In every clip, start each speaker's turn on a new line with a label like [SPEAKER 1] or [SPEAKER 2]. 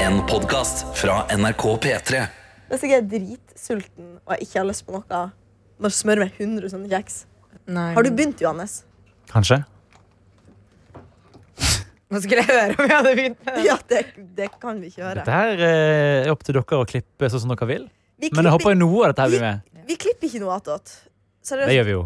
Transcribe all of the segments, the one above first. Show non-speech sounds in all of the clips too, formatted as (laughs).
[SPEAKER 1] En podcast fra NRK P3
[SPEAKER 2] Hvis jeg er dritsulten og jeg ikke har lyst på noe, bare smør meg 100 sånne kjeks.
[SPEAKER 3] Nei.
[SPEAKER 2] Har du begynt, Johannes?
[SPEAKER 4] Kanskje?
[SPEAKER 3] Nå skulle jeg høre om jeg hadde begynt med det.
[SPEAKER 2] Ja, det, det kan vi ikke
[SPEAKER 4] Dette
[SPEAKER 2] høre.
[SPEAKER 4] her eh, er opp til dere å klippe sånn som dere vil.
[SPEAKER 2] Vi
[SPEAKER 4] Men jeg håper
[SPEAKER 2] klipper,
[SPEAKER 4] jo noe av dette her blir med.
[SPEAKER 2] vi klipper ikke noe attåt.
[SPEAKER 4] Det
[SPEAKER 2] Seriøst?
[SPEAKER 4] gjør vi jo.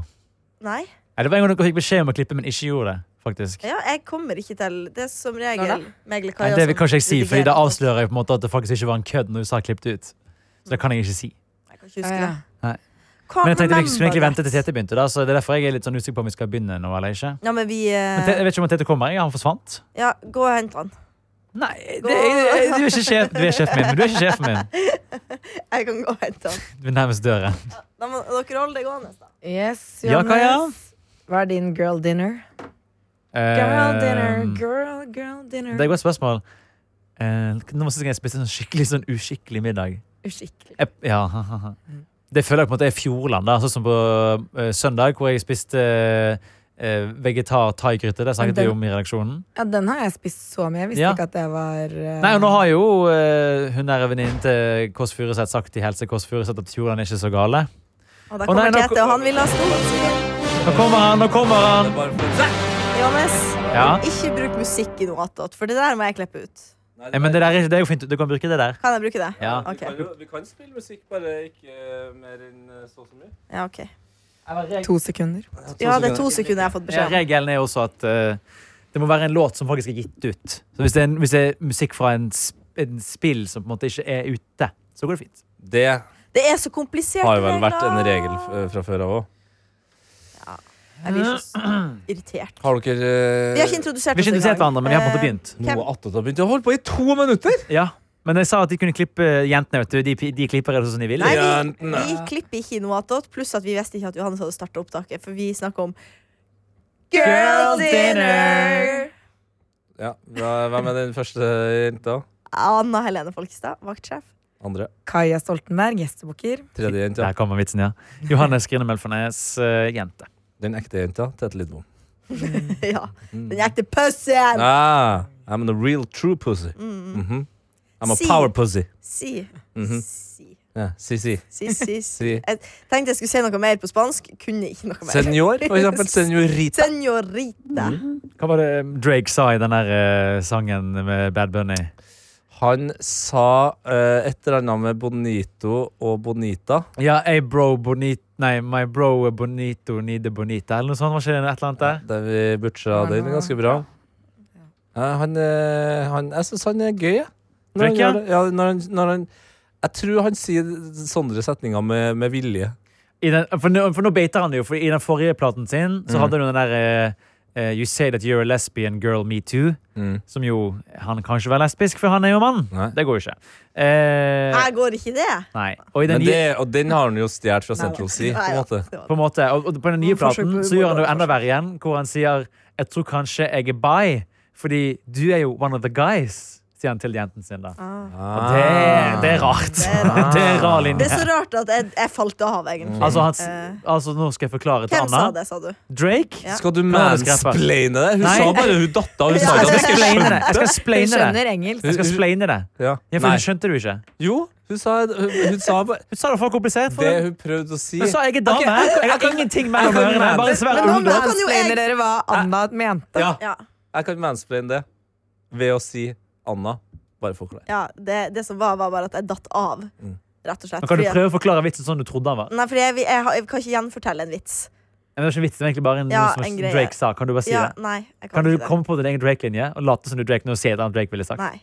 [SPEAKER 2] Nei.
[SPEAKER 4] Nei, det var en gang dere fikk beskjed om å klippe, men ikke gjorde det. faktisk.
[SPEAKER 2] Ja, jeg kommer ikke til det er som
[SPEAKER 3] Når da?
[SPEAKER 2] regel meg eller
[SPEAKER 4] Nei,
[SPEAKER 2] Kaja
[SPEAKER 4] det vil
[SPEAKER 2] som
[SPEAKER 4] kanskje jeg si, fordi
[SPEAKER 2] redigerer
[SPEAKER 4] da
[SPEAKER 2] attåt.
[SPEAKER 4] avslører jeg på en måte at det faktisk ikke var en kødd når du sa klippet ut. Så det kan jeg ikke si.
[SPEAKER 2] Jeg kan ikke
[SPEAKER 3] Ja,
[SPEAKER 2] huske
[SPEAKER 3] ja.
[SPEAKER 2] det.
[SPEAKER 4] Nei.
[SPEAKER 2] Hva
[SPEAKER 4] Men jeg tenkte vi
[SPEAKER 2] med
[SPEAKER 4] skulle egentlig
[SPEAKER 2] Membernet?
[SPEAKER 4] vente til Tete begynte. da, så det er derfor jeg er litt sånn usikker på om vi skal begynne nå eller ikke.
[SPEAKER 2] Ja, men vi
[SPEAKER 4] Men
[SPEAKER 2] eh,
[SPEAKER 4] Tete- jeg vet ikke om Tete kommer. Jeg, han forsvant.
[SPEAKER 2] Ja, gå og hent han.
[SPEAKER 4] Nei, det, jeg, jeg, du, er ikke sjef, du er sjefen min, men du er ikke sjefen min.
[SPEAKER 2] (laughs) Jeg kan gå og hente han.
[SPEAKER 4] Du er nærmest døren.
[SPEAKER 2] Da må dere holde det gående. da.
[SPEAKER 3] Yes,
[SPEAKER 4] Ja,
[SPEAKER 3] Johannes.
[SPEAKER 4] Kaja?
[SPEAKER 3] Hva er din girl dinner?
[SPEAKER 4] Eh,
[SPEAKER 3] Girl dinner,
[SPEAKER 4] Ehm,
[SPEAKER 3] girl, girl dinner.
[SPEAKER 4] Det er et godt spørsmål. Eh, nå må jeg si at jeg spiste en sånn skikkelig sånn uskikkelig middag.
[SPEAKER 3] Uskikkelig.
[SPEAKER 4] Jeg, ja, (laughs) Det føler jeg på en måte er Fjordland. da, Sånn som på eh, søndag, hvor jeg spiste eh, vegetar-thaigryte. Det snakket
[SPEAKER 3] Men
[SPEAKER 4] vi
[SPEAKER 3] den-
[SPEAKER 4] om i redaksjonen.
[SPEAKER 3] Ja, den har jeg spist så mye. Jeg visste
[SPEAKER 4] Ja.
[SPEAKER 3] ikke at det var eh,
[SPEAKER 4] Nei, og Nå har jo eh, hun der venninnen til Kåss Furuseth sagt i Helse Kåss Furuseth at Fjordland er ikke så gale.
[SPEAKER 2] Og da
[SPEAKER 4] Å, nei,
[SPEAKER 2] kommer
[SPEAKER 4] nå-
[SPEAKER 2] Tete, og han vil ha stol.
[SPEAKER 4] Nå kommer han, nå kommer han!
[SPEAKER 2] Johannes,
[SPEAKER 4] Ja.
[SPEAKER 2] ikke bruk musikk i noe attåt, for det der må jeg klippe ut.
[SPEAKER 4] Eh, Men det, der er, ikke- det er jo fint. Du kan bruke det der.
[SPEAKER 2] Kan jeg bruke det?
[SPEAKER 4] Ja.
[SPEAKER 2] Ok.
[SPEAKER 5] Du, kan jo, du kan spille musikk, bare ikke eh, mer enn eh, så og så mye.
[SPEAKER 2] Ja, ok.
[SPEAKER 3] to sekunder.
[SPEAKER 2] Ja, det er to sekunder jeg har fått beskjed
[SPEAKER 4] Ja,
[SPEAKER 2] om.
[SPEAKER 4] regelen er også at eh, det må være en låt som faktisk er gitt ut. Så hvis det er, en, hvis det er musikk fra en, sp en spill som på en måte ikke er ute, så går det fint.
[SPEAKER 5] Det
[SPEAKER 2] Det er så komplisert.
[SPEAKER 5] har vel vært en
[SPEAKER 2] regler.
[SPEAKER 5] regel f- eh, fra før av òg.
[SPEAKER 2] Jeg blir så s- irritert.
[SPEAKER 5] Har dere eh,
[SPEAKER 2] Vi har ikke introdusert
[SPEAKER 4] Vi har ikke introdusert hverandre, men vi har på en måte begynt.
[SPEAKER 2] Hvem-
[SPEAKER 5] Noe attåt har begynt å holde på i to minutter!
[SPEAKER 4] Ja, men jeg sa at de kunne klippe jentene, vet du. De, de klipper det sånn de vil.
[SPEAKER 2] Eh, Nei, vi,
[SPEAKER 5] Jentene.
[SPEAKER 2] vi klipper ikke noe attåt, pluss at vi visste ikke at Johannes hadde starta opptaket, for vi snakker om Girl dinner!
[SPEAKER 5] Ja, da, Hvem er den første jenta?
[SPEAKER 2] Anna Helene Folkestad, vaktsjef. (laughs)
[SPEAKER 5] Andre?
[SPEAKER 3] Kaja Stoltenberg, gjestebukker.
[SPEAKER 5] Tredje jenta?
[SPEAKER 4] Der kommer vitsen, ja. Johannes Grinemel Fornes, eh, jente.
[SPEAKER 5] Den ekte jenta? Tete Lidbom.
[SPEAKER 2] ja.
[SPEAKER 5] Mm.
[SPEAKER 2] Den ekte pussyen!
[SPEAKER 5] Ah, I'm a real true pussy. Mhm. I'm a
[SPEAKER 2] Mm, Si.
[SPEAKER 5] power pussy.
[SPEAKER 2] Si.
[SPEAKER 5] Mhm.
[SPEAKER 2] Si.
[SPEAKER 5] Ja, si, si.
[SPEAKER 2] Si, si, si.
[SPEAKER 5] si.
[SPEAKER 2] Jeg tenkte jeg skulle si noe mer på spansk. Kunne ikke noe mer.
[SPEAKER 5] Senor, Mm. for
[SPEAKER 2] (laughs)
[SPEAKER 5] eksempel. Senorita.
[SPEAKER 2] Senorita.
[SPEAKER 4] Hva var det Drake sa i den der eh, sangen med Bad Bunny?
[SPEAKER 5] Han sa eh, et eller annet med Bonito og Bonita.
[SPEAKER 4] Ja, hey bro bonit... Nei, my bro bonito need a bonita, eller noe sånt. Var ikke det et eller annet der?
[SPEAKER 5] Der vi butcha
[SPEAKER 3] Det var
[SPEAKER 5] den
[SPEAKER 3] noe-
[SPEAKER 5] ganske bra. Ja, han, eh, han, jeg syns han er gøy, jeg. Når han,
[SPEAKER 4] Drake, ja?
[SPEAKER 5] gjør det- ja, når han, når han, jeg tror han sier sånne setninger med, med vilje.
[SPEAKER 4] I den, for, nå, for nå beiter han det jo, for i den forrige platen sin så
[SPEAKER 5] Mm.
[SPEAKER 4] hadde han jo den der eh, eh, You say that you're a lesbian girl, me too. Som jo Han kan ikke være lesbisk, for han er jo mann.
[SPEAKER 5] Mm. Nei.
[SPEAKER 4] Det går jo ikke. Eh,
[SPEAKER 2] Her går ikke det.
[SPEAKER 4] nei. Og, i den
[SPEAKER 5] Men
[SPEAKER 4] nye,
[SPEAKER 5] det, og den har han jo stjålet fra Central Sea. På en
[SPEAKER 2] Nei,
[SPEAKER 5] måte.
[SPEAKER 2] ja.
[SPEAKER 4] på en måte, og, og på den nye
[SPEAKER 2] Forsøk på
[SPEAKER 4] platen
[SPEAKER 2] humor,
[SPEAKER 4] så gjør han det jo
[SPEAKER 2] da,
[SPEAKER 4] enda verre igjen, hvor han sier Jeg tror kanskje jeg er bi, fordi du er jo one of the guys, sier han til jenten sin da. Og det,
[SPEAKER 5] Ah.
[SPEAKER 4] det er rart.
[SPEAKER 2] Det er rart.
[SPEAKER 4] (laughs) Det er rar
[SPEAKER 2] Det er
[SPEAKER 4] linje.
[SPEAKER 2] så rart at jeg, jeg falt av,
[SPEAKER 5] Mm.
[SPEAKER 2] egentlig.
[SPEAKER 4] Altså, han, s-
[SPEAKER 2] Eh,
[SPEAKER 4] altså, nå skal jeg forklare til
[SPEAKER 2] Hvem sa
[SPEAKER 4] Anna.
[SPEAKER 2] det, sa du?
[SPEAKER 4] Drake
[SPEAKER 2] Ja.
[SPEAKER 5] Skal du
[SPEAKER 4] Kan han skreppe?
[SPEAKER 5] mansplaine det? Hun
[SPEAKER 4] Nei.
[SPEAKER 5] sa bare hun datta. Hun sa
[SPEAKER 4] Jeg
[SPEAKER 5] ikke
[SPEAKER 4] skal
[SPEAKER 5] at hun skulle
[SPEAKER 4] splaine det. Jeg skal
[SPEAKER 3] Hun
[SPEAKER 4] splaine det.
[SPEAKER 3] skjønner engelsk.
[SPEAKER 4] Jeg skal
[SPEAKER 5] Hun-
[SPEAKER 4] splaine det.
[SPEAKER 5] Ja.
[SPEAKER 4] Ja, for
[SPEAKER 5] Nei.
[SPEAKER 4] det skjønte du ikke.
[SPEAKER 5] Jo, hun sa, hun, hun sa bare
[SPEAKER 4] Hun sa det for komplisert. For
[SPEAKER 5] det
[SPEAKER 4] hun.
[SPEAKER 5] hun prøvde å si.
[SPEAKER 4] hun sa jeg er dame.
[SPEAKER 5] Ok, jeg- jeg
[SPEAKER 4] Jeg har
[SPEAKER 5] kan-
[SPEAKER 4] ingenting
[SPEAKER 5] jeg
[SPEAKER 4] mellom
[SPEAKER 5] kan
[SPEAKER 4] ørene.
[SPEAKER 5] mene
[SPEAKER 4] Bare en
[SPEAKER 5] det.
[SPEAKER 4] svær
[SPEAKER 3] Men nå
[SPEAKER 2] Men
[SPEAKER 4] ungdom.
[SPEAKER 2] da kan jo jeg-
[SPEAKER 3] mansplainer dere hva Anna mente.
[SPEAKER 5] Ja,
[SPEAKER 2] Ja,
[SPEAKER 5] jeg kan mansplaine det ved å si Anna. Bare forklar.
[SPEAKER 2] ja det, det som var, var bare at jeg datt av.
[SPEAKER 5] Mm.
[SPEAKER 2] Rett og slett.
[SPEAKER 4] Men Kan du
[SPEAKER 2] fordi at-
[SPEAKER 4] prøve å forklare vitsen sånn du trodde den var?
[SPEAKER 2] Nei, fordi jeg, jeg, har- jeg kan ikke gjenfortelle en vits.
[SPEAKER 4] Det var ikke en vits, det var egentlig bare en,
[SPEAKER 2] Ja,
[SPEAKER 4] noe som
[SPEAKER 2] en greie.
[SPEAKER 4] Drake sa. Kan du bare si
[SPEAKER 2] Ja,
[SPEAKER 4] det?
[SPEAKER 2] nei, jeg kan,
[SPEAKER 4] Kan du
[SPEAKER 2] ikke det.
[SPEAKER 4] komme på din egen Drake-linje og late som du er Drake når du sier det annet Drake ville sagt?
[SPEAKER 2] Nei.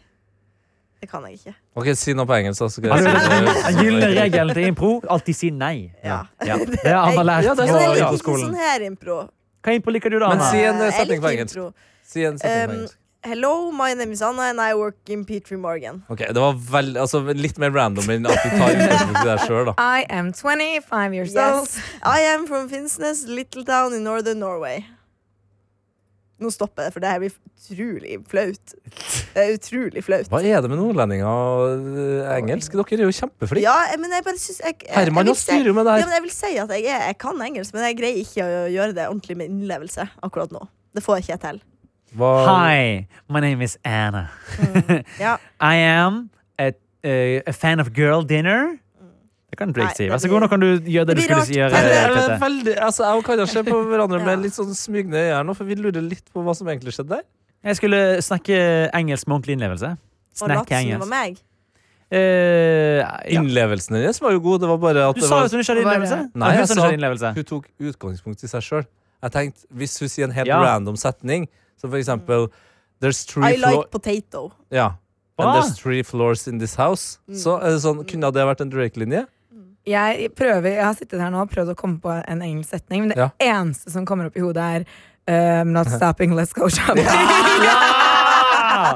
[SPEAKER 2] Det kan jeg ikke.
[SPEAKER 5] Ok, Si noe på engelsk. da, Så skal
[SPEAKER 4] Altså,
[SPEAKER 5] jeg si det.
[SPEAKER 4] Den gylne regelen til impro alltid si nei.
[SPEAKER 2] Ja.
[SPEAKER 4] Ja. Det har Anna lært
[SPEAKER 5] Ja,
[SPEAKER 4] på
[SPEAKER 5] det
[SPEAKER 2] Men
[SPEAKER 5] er
[SPEAKER 2] jeg
[SPEAKER 5] ja,
[SPEAKER 2] liker ikke
[SPEAKER 4] improskolen.
[SPEAKER 2] sånn her impro.
[SPEAKER 4] Hva impro liker du, da,
[SPEAKER 5] Men
[SPEAKER 4] Anna?
[SPEAKER 5] si en, eh,
[SPEAKER 2] Eh, jeg
[SPEAKER 5] setning på
[SPEAKER 2] liker
[SPEAKER 5] engelsk.
[SPEAKER 2] impro.
[SPEAKER 5] Si en setning på
[SPEAKER 2] Um,
[SPEAKER 5] engelsk.
[SPEAKER 2] Hello, my name is Anna, and I work in Petrie Morgan.
[SPEAKER 5] Ok, Det var vel, altså, litt mer random enn at du tar utgangspunkt i deg sjøl, da.
[SPEAKER 3] I am 25 years old.
[SPEAKER 2] Yes. I am from Finnsnes, little town in northern Norway. Nå stopper jeg, for det her blir utrolig flaut. Det er utrolig flaut.
[SPEAKER 5] Hva er det med nordlendinger og eh, engelsk? Dere er jo kjempeflinke.
[SPEAKER 2] Ja, jeg- men jeg bare syns jeg, jeg, jeg,
[SPEAKER 5] Herman
[SPEAKER 2] vil
[SPEAKER 5] og
[SPEAKER 2] si-
[SPEAKER 5] styrer jo med det
[SPEAKER 2] ja,
[SPEAKER 5] her.
[SPEAKER 2] men jeg vil si at jeg, er, jeg kan engelsk, men jeg greier ikke å gjøre det ordentlig med innlevelse akkurat nå. Det får jeg ikke til.
[SPEAKER 5] Hva,
[SPEAKER 4] Hi, my name is Anna. Mm.
[SPEAKER 2] Ja.
[SPEAKER 4] I am a, eh, a fan of girl dinner. Det kan du
[SPEAKER 2] Nei,
[SPEAKER 4] ikke si.
[SPEAKER 2] det
[SPEAKER 4] Vær så
[SPEAKER 2] blir-
[SPEAKER 4] god, nå kan du gjøre det
[SPEAKER 2] det
[SPEAKER 4] du
[SPEAKER 2] blir
[SPEAKER 4] skulle
[SPEAKER 2] rart.
[SPEAKER 4] si- gjøre.
[SPEAKER 5] det er
[SPEAKER 4] Tete.
[SPEAKER 5] veldig, altså, jeg og Kaja ser på
[SPEAKER 2] (laughs)
[SPEAKER 5] hverandre
[SPEAKER 2] Ja.
[SPEAKER 5] med litt sånn smygne øyne, nå, for vi lurer litt på hva som egentlig skjedde der.
[SPEAKER 4] Jeg skulle snakke engelsk med ordentlig innlevelse.
[SPEAKER 2] (laughs) Og
[SPEAKER 4] Snakke
[SPEAKER 2] Latsen var
[SPEAKER 4] engelsk.
[SPEAKER 2] meg.
[SPEAKER 4] Eh, ja.
[SPEAKER 5] Innlevelsen hennes var jo god. Det var bare at
[SPEAKER 4] Du
[SPEAKER 5] det
[SPEAKER 4] sa jo
[SPEAKER 5] var,
[SPEAKER 4] at hun ikke hadde
[SPEAKER 3] Bare-
[SPEAKER 4] innlevelse.
[SPEAKER 5] Nei,
[SPEAKER 4] Ja, hun sa hun
[SPEAKER 5] jeg sa-
[SPEAKER 4] ikke hadde innlevelse.
[SPEAKER 5] hun tok utgangspunkt i seg sjøl. Jeg tenkte, Hvis hun sier en helt
[SPEAKER 4] Ja.
[SPEAKER 5] random setning, som for eksempel There's three
[SPEAKER 2] Mm. I
[SPEAKER 5] floor
[SPEAKER 2] like potato.
[SPEAKER 5] Ja.
[SPEAKER 4] Hva? Mm.
[SPEAKER 5] And there's three floors in this house. Så er det sånn, Kunne det vært en Drake-linje?
[SPEAKER 3] Jeg prøver, jeg har sittet her nå og prøvd å komme på en engelsk setning, men det
[SPEAKER 5] Ja.
[SPEAKER 3] eneste som kommer opp i hodet, er um,
[SPEAKER 4] (laughs)
[SPEAKER 3] Not stopping, let's go shopping.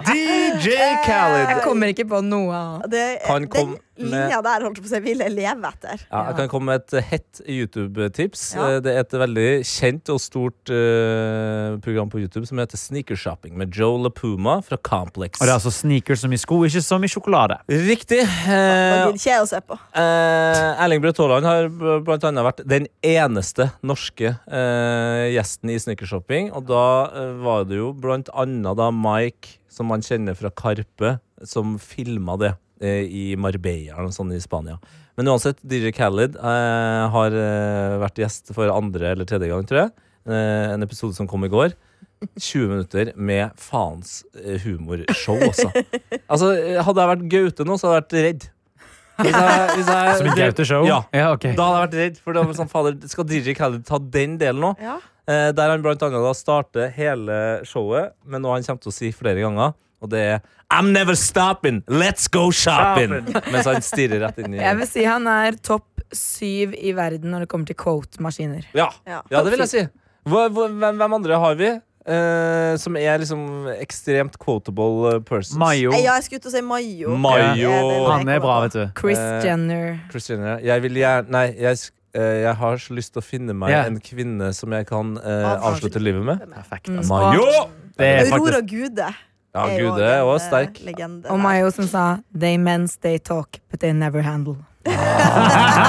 [SPEAKER 5] DJ Khaled!
[SPEAKER 3] Jeg kommer ikke på noe annet.
[SPEAKER 2] Det,
[SPEAKER 5] Kan
[SPEAKER 2] den
[SPEAKER 5] komme
[SPEAKER 2] linja der holdt jeg på å si vil jeg leve etter.
[SPEAKER 5] Ja, jeg kan komme med et eh, hett YouTube-tips.
[SPEAKER 2] Ja.
[SPEAKER 5] Eh, Det er et veldig kjent og stort eh, program på YouTube som heter Sneakershopping med Joe LaPuma fra Complex.
[SPEAKER 4] Og det er altså sneakers som i sko, ikke som i sjokolade.
[SPEAKER 5] Riktig.
[SPEAKER 2] Da
[SPEAKER 5] Eh,
[SPEAKER 2] gidder ikke jeg å se på.
[SPEAKER 5] Eh, Erling Braut Haaland har b- blant annet vært den eneste norske eh, gjesten i Sneakershopping. Og da eh, var det jo blant annet da Mike, som man kjenner fra Karpe, som filma det eh, i Marbella eller noe sånt i Spania. Men uansett, DJ Khaled eh, har eh, vært gjest for andre eller tredje gang, tror jeg. Eh, en episode som kom i går. 20 minutter med faens eh, humorshow, altså. altså. eh, Hadde jeg vært Gaute nå, så hadde jeg vært redd. Hvis jeg, hvis jeg,
[SPEAKER 4] Som i Gaute Show?
[SPEAKER 5] Ja.
[SPEAKER 4] ja ok.
[SPEAKER 5] Da hadde jeg vært redd. For det var sånn, fader, Skal DJ Khaled ta den delen nå?
[SPEAKER 2] Ja.
[SPEAKER 5] Eh, der han blant annet da starter hele showet med noe han kommer til å si flere ganger. Og det er I'm never stopping! Let's go shopping! Mens han stirrer rett inn i
[SPEAKER 3] Jeg vil si han er topp syv i verden når det kommer til quote-maskiner.
[SPEAKER 5] Ja,
[SPEAKER 2] Ja.
[SPEAKER 5] ja det vil jeg si. Hva, hva, hvem, hvem andre har vi? eh, som er liksom ekstremt quotable eh, persons.
[SPEAKER 4] Mayo.
[SPEAKER 2] Eh, Ja, jeg skulle til å si Mayo.
[SPEAKER 5] Mayo.
[SPEAKER 2] Det er den
[SPEAKER 4] Han
[SPEAKER 2] jeg kommer
[SPEAKER 4] er bra,
[SPEAKER 2] på.
[SPEAKER 4] vet du.
[SPEAKER 3] Chris
[SPEAKER 5] Eh,
[SPEAKER 3] Jenner.
[SPEAKER 5] Christian, ja. jeg vil gjerne Nei, jeg, sk- eh, jeg har så lyst til å finne meg
[SPEAKER 4] Ja.
[SPEAKER 5] en kvinne som jeg kan eh,
[SPEAKER 2] Avslutte.
[SPEAKER 5] avslutte livet med.
[SPEAKER 4] Perfekt.
[SPEAKER 3] Mm.
[SPEAKER 5] Mayo!
[SPEAKER 4] Det er
[SPEAKER 2] Aurora
[SPEAKER 4] faktisk
[SPEAKER 2] Gude
[SPEAKER 5] Ja,
[SPEAKER 2] er jo
[SPEAKER 5] gud, det er
[SPEAKER 2] en,
[SPEAKER 5] også
[SPEAKER 2] eh,
[SPEAKER 5] sterk.
[SPEAKER 2] legende.
[SPEAKER 3] Og
[SPEAKER 2] der.
[SPEAKER 3] Mayo som sa They mens they talk, but they never handle.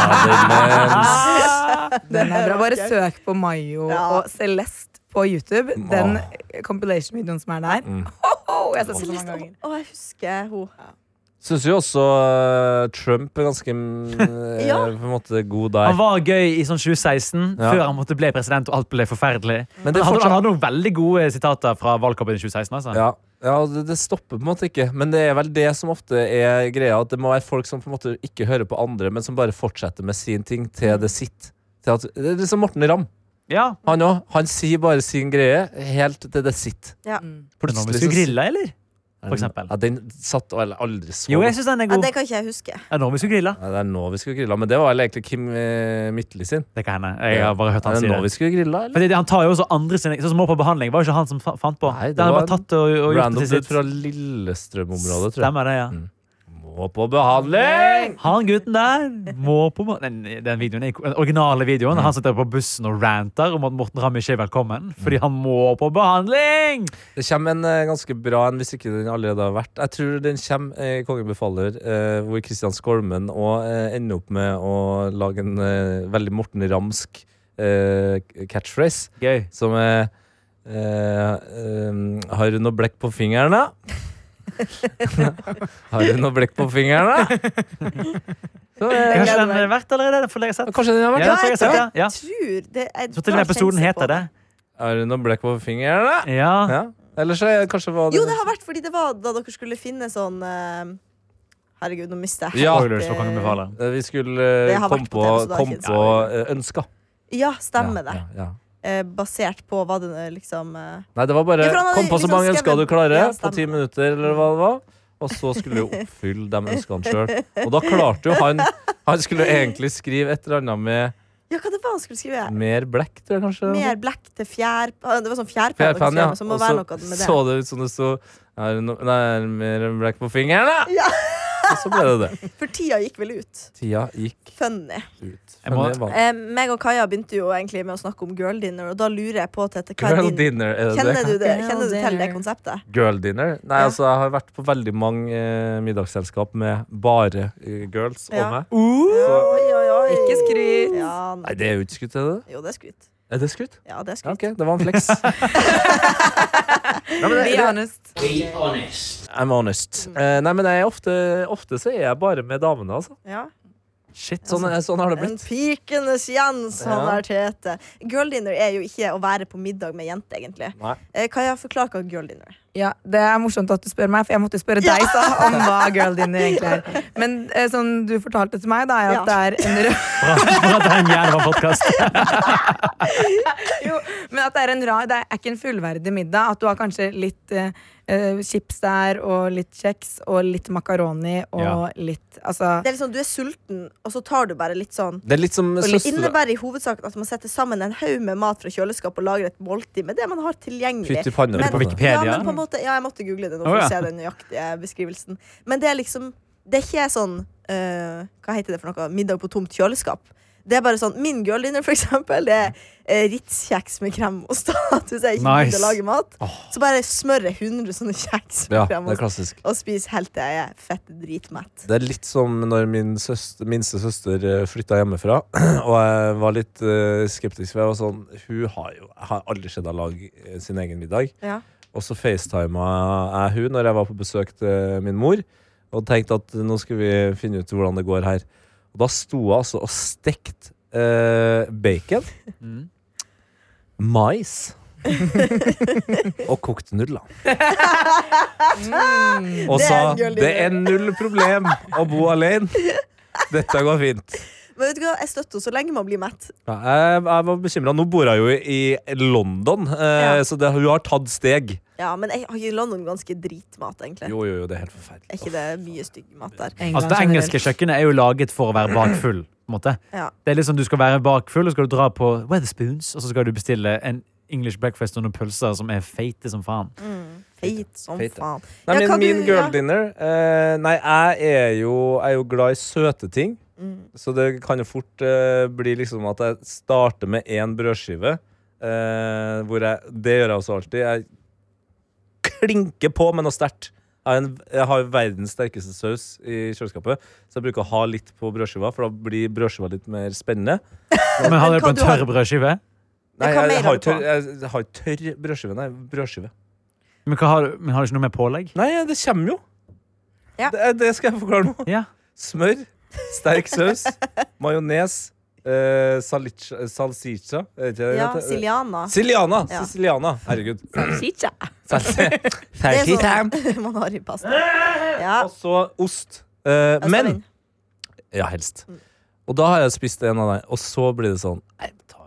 [SPEAKER 5] Ja,
[SPEAKER 3] (laughs) Den er bra. Bare
[SPEAKER 2] Ok.
[SPEAKER 3] søk på Mayo
[SPEAKER 2] Ja.
[SPEAKER 3] og Celeste på YouTube. Den compilation-videoen som er der.
[SPEAKER 5] Mm.
[SPEAKER 3] Ho, ho, jeg har sett den så mange ganger.
[SPEAKER 2] Celeste- Å, jeg husker hun.
[SPEAKER 5] Syns jo også eh, Trump er ganske (laughs) eh,
[SPEAKER 2] Ja.
[SPEAKER 5] på en måte god
[SPEAKER 4] han
[SPEAKER 5] der.
[SPEAKER 4] var gøy i sånn 2016,
[SPEAKER 5] Ja.
[SPEAKER 4] før han måtte bli president og alt ble forferdelig.
[SPEAKER 5] Men
[SPEAKER 4] Han
[SPEAKER 5] det,
[SPEAKER 4] hadde, han
[SPEAKER 5] fortsatt,
[SPEAKER 4] hadde noen veldig gode sitater fra valgkampen i 2016. altså.
[SPEAKER 5] ja, ja, det, det stopper på en måte ikke. Men det er vel det som ofte er greia, at det må være folk som på en måte ikke hører på andre, men som bare fortsetter med sin ting til
[SPEAKER 4] Mm.
[SPEAKER 5] det sitt. Til at, det er liksom Morten Ramm.
[SPEAKER 4] Ja.
[SPEAKER 5] Han òg. Han sier bare sin greie helt til det sitt.
[SPEAKER 3] Mm.
[SPEAKER 4] Nå
[SPEAKER 5] Plutselig
[SPEAKER 4] vi skulle
[SPEAKER 5] så-
[SPEAKER 4] grille, eller? for eksempel.
[SPEAKER 5] Ja, den satt vel aldri så
[SPEAKER 4] Jo, jeg syns den er
[SPEAKER 2] Ja,
[SPEAKER 4] god.
[SPEAKER 2] det kan ikke jeg huske.
[SPEAKER 4] Ja, nå vi skulle grille.
[SPEAKER 5] Nei, Det er nå vi skulle grilla, men det var vel egentlig Kim eh, Midtly sin.
[SPEAKER 4] Det kan hende. Jeg har bare hørt han
[SPEAKER 5] er
[SPEAKER 4] si
[SPEAKER 5] det nå
[SPEAKER 4] det.
[SPEAKER 5] vi skulle grilla, eller?
[SPEAKER 4] Fordi det- han tar jo også andre sine Sånn som må på behandling, var jo ikke han som fa- fant på.
[SPEAKER 5] Nei, det
[SPEAKER 4] det har
[SPEAKER 5] var
[SPEAKER 4] han bare tatt og, og gjort
[SPEAKER 5] Random
[SPEAKER 4] det til
[SPEAKER 5] dude
[SPEAKER 4] sitt.
[SPEAKER 5] fra Lillestrøm-området, tror jeg. Mm.
[SPEAKER 4] Stemmer det, ja.
[SPEAKER 5] Må på behandling!
[SPEAKER 4] Han gutten der må på må- den, den, videoen, er- den originale videoen.
[SPEAKER 5] Mm.
[SPEAKER 4] Han sitter på bussen og ranter om at Morten Ramm ikke er velkommen fordi han må på behandling!
[SPEAKER 5] Det kommer en eh, ganske bra en, hvis ikke den allerede har vært. Jeg tror den kommer eh, i Kongen befaler, eh, hvor Kristian Skolmen òg eh, ender opp med å lage en eh, veldig Morten Ramsk eh, catchphrase,
[SPEAKER 4] Gøy.
[SPEAKER 5] som er eh, eh, Har du noe blekk på fingrene? (laughs) har du noe blekk på fingrene? Så, eh,
[SPEAKER 4] Kanskje den er verdt allerede? Den får jeg sett.
[SPEAKER 5] kanskje den har vært?
[SPEAKER 4] Ja,
[SPEAKER 2] Ja,
[SPEAKER 4] det tror
[SPEAKER 2] jeg
[SPEAKER 4] jeg jeg har sett, ja. Ja.
[SPEAKER 2] Tror det jeg
[SPEAKER 4] Så til og med
[SPEAKER 2] har
[SPEAKER 4] episoden
[SPEAKER 2] kjent på
[SPEAKER 4] heter det.
[SPEAKER 5] Har du noe blekk på fingrene?
[SPEAKER 4] Ja.
[SPEAKER 5] Ja. Eller så er det kanskje hva
[SPEAKER 2] Jo, det har vært fordi det var da dere skulle finne sånn eh, Herregud, nå mister jeg
[SPEAKER 5] Ja.
[SPEAKER 2] helt,
[SPEAKER 4] Spoilers for Kongen
[SPEAKER 2] eh,
[SPEAKER 4] befaler.
[SPEAKER 5] Eh, Vi skulle
[SPEAKER 2] Det
[SPEAKER 5] eh,
[SPEAKER 2] har
[SPEAKER 5] komme
[SPEAKER 2] vært
[SPEAKER 5] på,
[SPEAKER 2] på TV, så da er
[SPEAKER 5] kom
[SPEAKER 2] det ikke
[SPEAKER 5] på eh, ønsker.
[SPEAKER 2] Ja, stemmer
[SPEAKER 5] Ja,
[SPEAKER 2] det.
[SPEAKER 5] ja, ja.
[SPEAKER 2] Eh, basert på hva det eh, liksom eh,
[SPEAKER 5] Nei, det var bare
[SPEAKER 2] Ja, for han hadde
[SPEAKER 5] kom på så
[SPEAKER 2] liksom
[SPEAKER 5] mange ønsker du
[SPEAKER 2] skrevet-
[SPEAKER 5] klarer
[SPEAKER 2] Ja,
[SPEAKER 5] på
[SPEAKER 2] stemmer.
[SPEAKER 5] ti minutter, eller hva det var. Og så skulle du oppfylle de ønskene sjøl. Og da klarte jo han Han skulle egentlig skrive et eller annet med
[SPEAKER 2] Ja, hva det var han skulle skrive?
[SPEAKER 5] mer blekk, tror jeg kanskje.
[SPEAKER 2] Mer blekk til fjær... ah, Det var sånn fjærpann. dere
[SPEAKER 5] Fjærpann, ja.
[SPEAKER 2] skrev, Så må
[SPEAKER 5] Og
[SPEAKER 2] være
[SPEAKER 5] så
[SPEAKER 2] noe med det.
[SPEAKER 5] så det ut som det sto er det no, Nei, er det mer blekk på fingeren, da!
[SPEAKER 2] Ja.
[SPEAKER 5] Og så ble det det.
[SPEAKER 2] For tida gikk vel ut.
[SPEAKER 5] Tida gikk
[SPEAKER 2] Funny.
[SPEAKER 5] ut.
[SPEAKER 4] Jeg må-
[SPEAKER 5] Men det var-
[SPEAKER 2] Eh, meg og Kaja begynte jo egentlig med å snakke om girl dinner, og da lurer jeg på Tete, hva er
[SPEAKER 5] Girl
[SPEAKER 2] din
[SPEAKER 5] dinner, er det det?
[SPEAKER 2] Kjenner du, det,
[SPEAKER 3] Girl
[SPEAKER 2] kjenner du til det
[SPEAKER 3] dinner.
[SPEAKER 2] konseptet?
[SPEAKER 5] Girl dinner? Nei,
[SPEAKER 2] Ja.
[SPEAKER 5] altså, jeg har vært på veldig mange eh, middagsselskap med bare eh, girls
[SPEAKER 2] Ja.
[SPEAKER 5] og meg.
[SPEAKER 2] Oi, oi, oi.
[SPEAKER 3] Ikke skryt.
[SPEAKER 2] Ja,
[SPEAKER 5] Uh! Nei,
[SPEAKER 2] nei.
[SPEAKER 5] det er jo ikke skutt, er det?
[SPEAKER 2] Jo, det er skryt.
[SPEAKER 5] Er det skutt?
[SPEAKER 2] Ja, det er
[SPEAKER 5] Ja,
[SPEAKER 2] skutt.
[SPEAKER 5] ok, det var en flex. Nei, men det-
[SPEAKER 3] Be honest.
[SPEAKER 5] (laughs) I'm honest.
[SPEAKER 2] Mm.
[SPEAKER 5] Eh, nei, men jeg, er ofte, ofte så er jeg bare med damene, altså.
[SPEAKER 2] Ja.
[SPEAKER 4] Shit,
[SPEAKER 5] Sånn, er- sånn har det
[SPEAKER 2] En
[SPEAKER 5] blitt.
[SPEAKER 2] pikenes Jens, han
[SPEAKER 5] Ja.
[SPEAKER 2] er Tete. Girl dinner er jo ikke å være på middag med jente, egentlig.
[SPEAKER 5] Nei.
[SPEAKER 2] Eh, Kaja, forklar hva girl dinner er.
[SPEAKER 3] Ja, Det er morsomt at du spør meg, for jeg måtte spørre deg sa, om hva girl dinner egentlig er. Men eh, sånn du fortalte til meg, da, er at det er en rød
[SPEAKER 4] Bra, (laughs) bra at det er en jævla podcast.
[SPEAKER 3] Jo, men at det er en rar Det er ikke en fullverdig middag. At du har kanskje litt eh, eh, chips der, og litt kjeks, og litt makaroni, og
[SPEAKER 4] Ja.
[SPEAKER 3] litt Altså
[SPEAKER 2] Det er liksom, Du er sulten, og så tar du bare litt sånn.
[SPEAKER 5] Det er litt som
[SPEAKER 2] Det
[SPEAKER 5] søstre...
[SPEAKER 2] innebærer i hovedsak at man setter sammen en haug med mat fra kjøleskap og lager et måltid med det man har tilgjengelig.
[SPEAKER 5] Fytti panna.
[SPEAKER 2] Men-
[SPEAKER 4] På Wikipedia?
[SPEAKER 2] Ja, men på en måte, ja, jeg måtte google det nå for
[SPEAKER 4] Å, ja.
[SPEAKER 2] å se den nøyaktige beskrivelsen. Men det er liksom Det er ikke sånn eh, Hva heter det for noe? Middag på tomt kjøleskap. Det er bare sånn, Min girl dinner, for eksempel, det er eh, Ritz-kjeks med kremost. At hvis jeg ikke
[SPEAKER 4] Nice.
[SPEAKER 2] gidder å lage mat, så bare smører jeg 100 sånne kjeks med
[SPEAKER 5] Ja, det er
[SPEAKER 2] kremost.
[SPEAKER 5] klassisk.
[SPEAKER 2] Og spiser helt til jeg er fett dritmett.
[SPEAKER 5] Det er litt som når min søster, minste søster eh, flytta hjemmefra. (clears throat) Og jeg var litt eh, skeptisk. For jeg var sånn Hun har jo jeg har aldri sett henne lage eh, sin egen middag.
[SPEAKER 2] Ja.
[SPEAKER 5] Og så facetima jeg hun når jeg var på besøk til min mor, og tenkte at nå skal vi finne ut hvordan det går her. Og da sto hun altså og stekte eh, bacon, mais og kokte nudler. Og
[SPEAKER 2] Mm. Det er
[SPEAKER 5] sa
[SPEAKER 2] en girl
[SPEAKER 5] det er
[SPEAKER 2] dinner."
[SPEAKER 5] null problem å bo alene. Dette går fint.
[SPEAKER 2] Men vet du hva, jeg støtter henne så lenge man blir mett.
[SPEAKER 5] Ja, jeg, jeg var bekymra. Nå bor jeg jo i London, eh,
[SPEAKER 2] Ja.
[SPEAKER 5] så det, hun har tatt steg.
[SPEAKER 2] Ja, Men jeg har ikke London ganske dritmat, egentlig.
[SPEAKER 5] Jo, jo, jo, det er helt forferdelig.
[SPEAKER 2] Er ikke det mye stygg mat der?
[SPEAKER 4] Altså, det engelske kjøkkenet er jo laget for å være bakfull. På en måte.
[SPEAKER 2] Ja.
[SPEAKER 4] Det er liksom Du skal være bakfull, og så skal du dra på Weatherspoons, og så skal du bestille en English breakfast og noen pølser som er feite som faen.
[SPEAKER 2] Feit som
[SPEAKER 5] Feit, ja. Eh,
[SPEAKER 2] faen.
[SPEAKER 5] Nei,
[SPEAKER 2] Ja, hva
[SPEAKER 5] men min
[SPEAKER 2] du-
[SPEAKER 5] girl
[SPEAKER 2] ja.
[SPEAKER 5] dinner eh, Nei, jeg er jo, jeg er jo glad i søte ting.
[SPEAKER 2] Mm.
[SPEAKER 5] Så det kan jo fort eh, bli liksom at jeg starter med én brødskive. eh, hvor jeg, det gjør jeg også alltid. Jeg klinker på med noe sterkt. Jeg, har en, jeg har verdens sterkeste saus i kjøleskapet, så jeg bruker å ha litt på brødskiva. For da blir brødskiva litt mer spennende.
[SPEAKER 4] Men har
[SPEAKER 2] hva
[SPEAKER 4] dere på en
[SPEAKER 2] du har-
[SPEAKER 4] tørr brødskive?
[SPEAKER 5] Nei,
[SPEAKER 2] hva
[SPEAKER 5] jeg,
[SPEAKER 2] mer
[SPEAKER 5] jeg, har
[SPEAKER 2] har du
[SPEAKER 5] tørr, jeg, jeg har tørr brødskive. Nei, brødskive.
[SPEAKER 4] Men, hva har, men har du ikke noe med pålegg?
[SPEAKER 5] Nei, det kommer jo.
[SPEAKER 2] Ja.
[SPEAKER 5] Det, det skal jeg forklare nå.
[SPEAKER 4] Ja.
[SPEAKER 5] Smør,
[SPEAKER 2] (laughs)
[SPEAKER 5] sterk saus, majones, eh, salich- salsicha er ikke det det
[SPEAKER 2] Ja,
[SPEAKER 5] heter?
[SPEAKER 2] Siliana.
[SPEAKER 5] Siliana!
[SPEAKER 2] Ja.
[SPEAKER 5] Siciliana.
[SPEAKER 2] (laughs)
[SPEAKER 5] Herregud.
[SPEAKER 2] Det
[SPEAKER 5] Salsi-
[SPEAKER 2] er sånn (laughs) man har i pasta. Ja.
[SPEAKER 5] Og så ost. Eh,
[SPEAKER 2] jeg skal
[SPEAKER 5] men
[SPEAKER 2] inn.
[SPEAKER 5] Ja, helst.
[SPEAKER 2] Mm.
[SPEAKER 5] Og da har jeg spist en av dem, og så blir det sånn Nei, ta,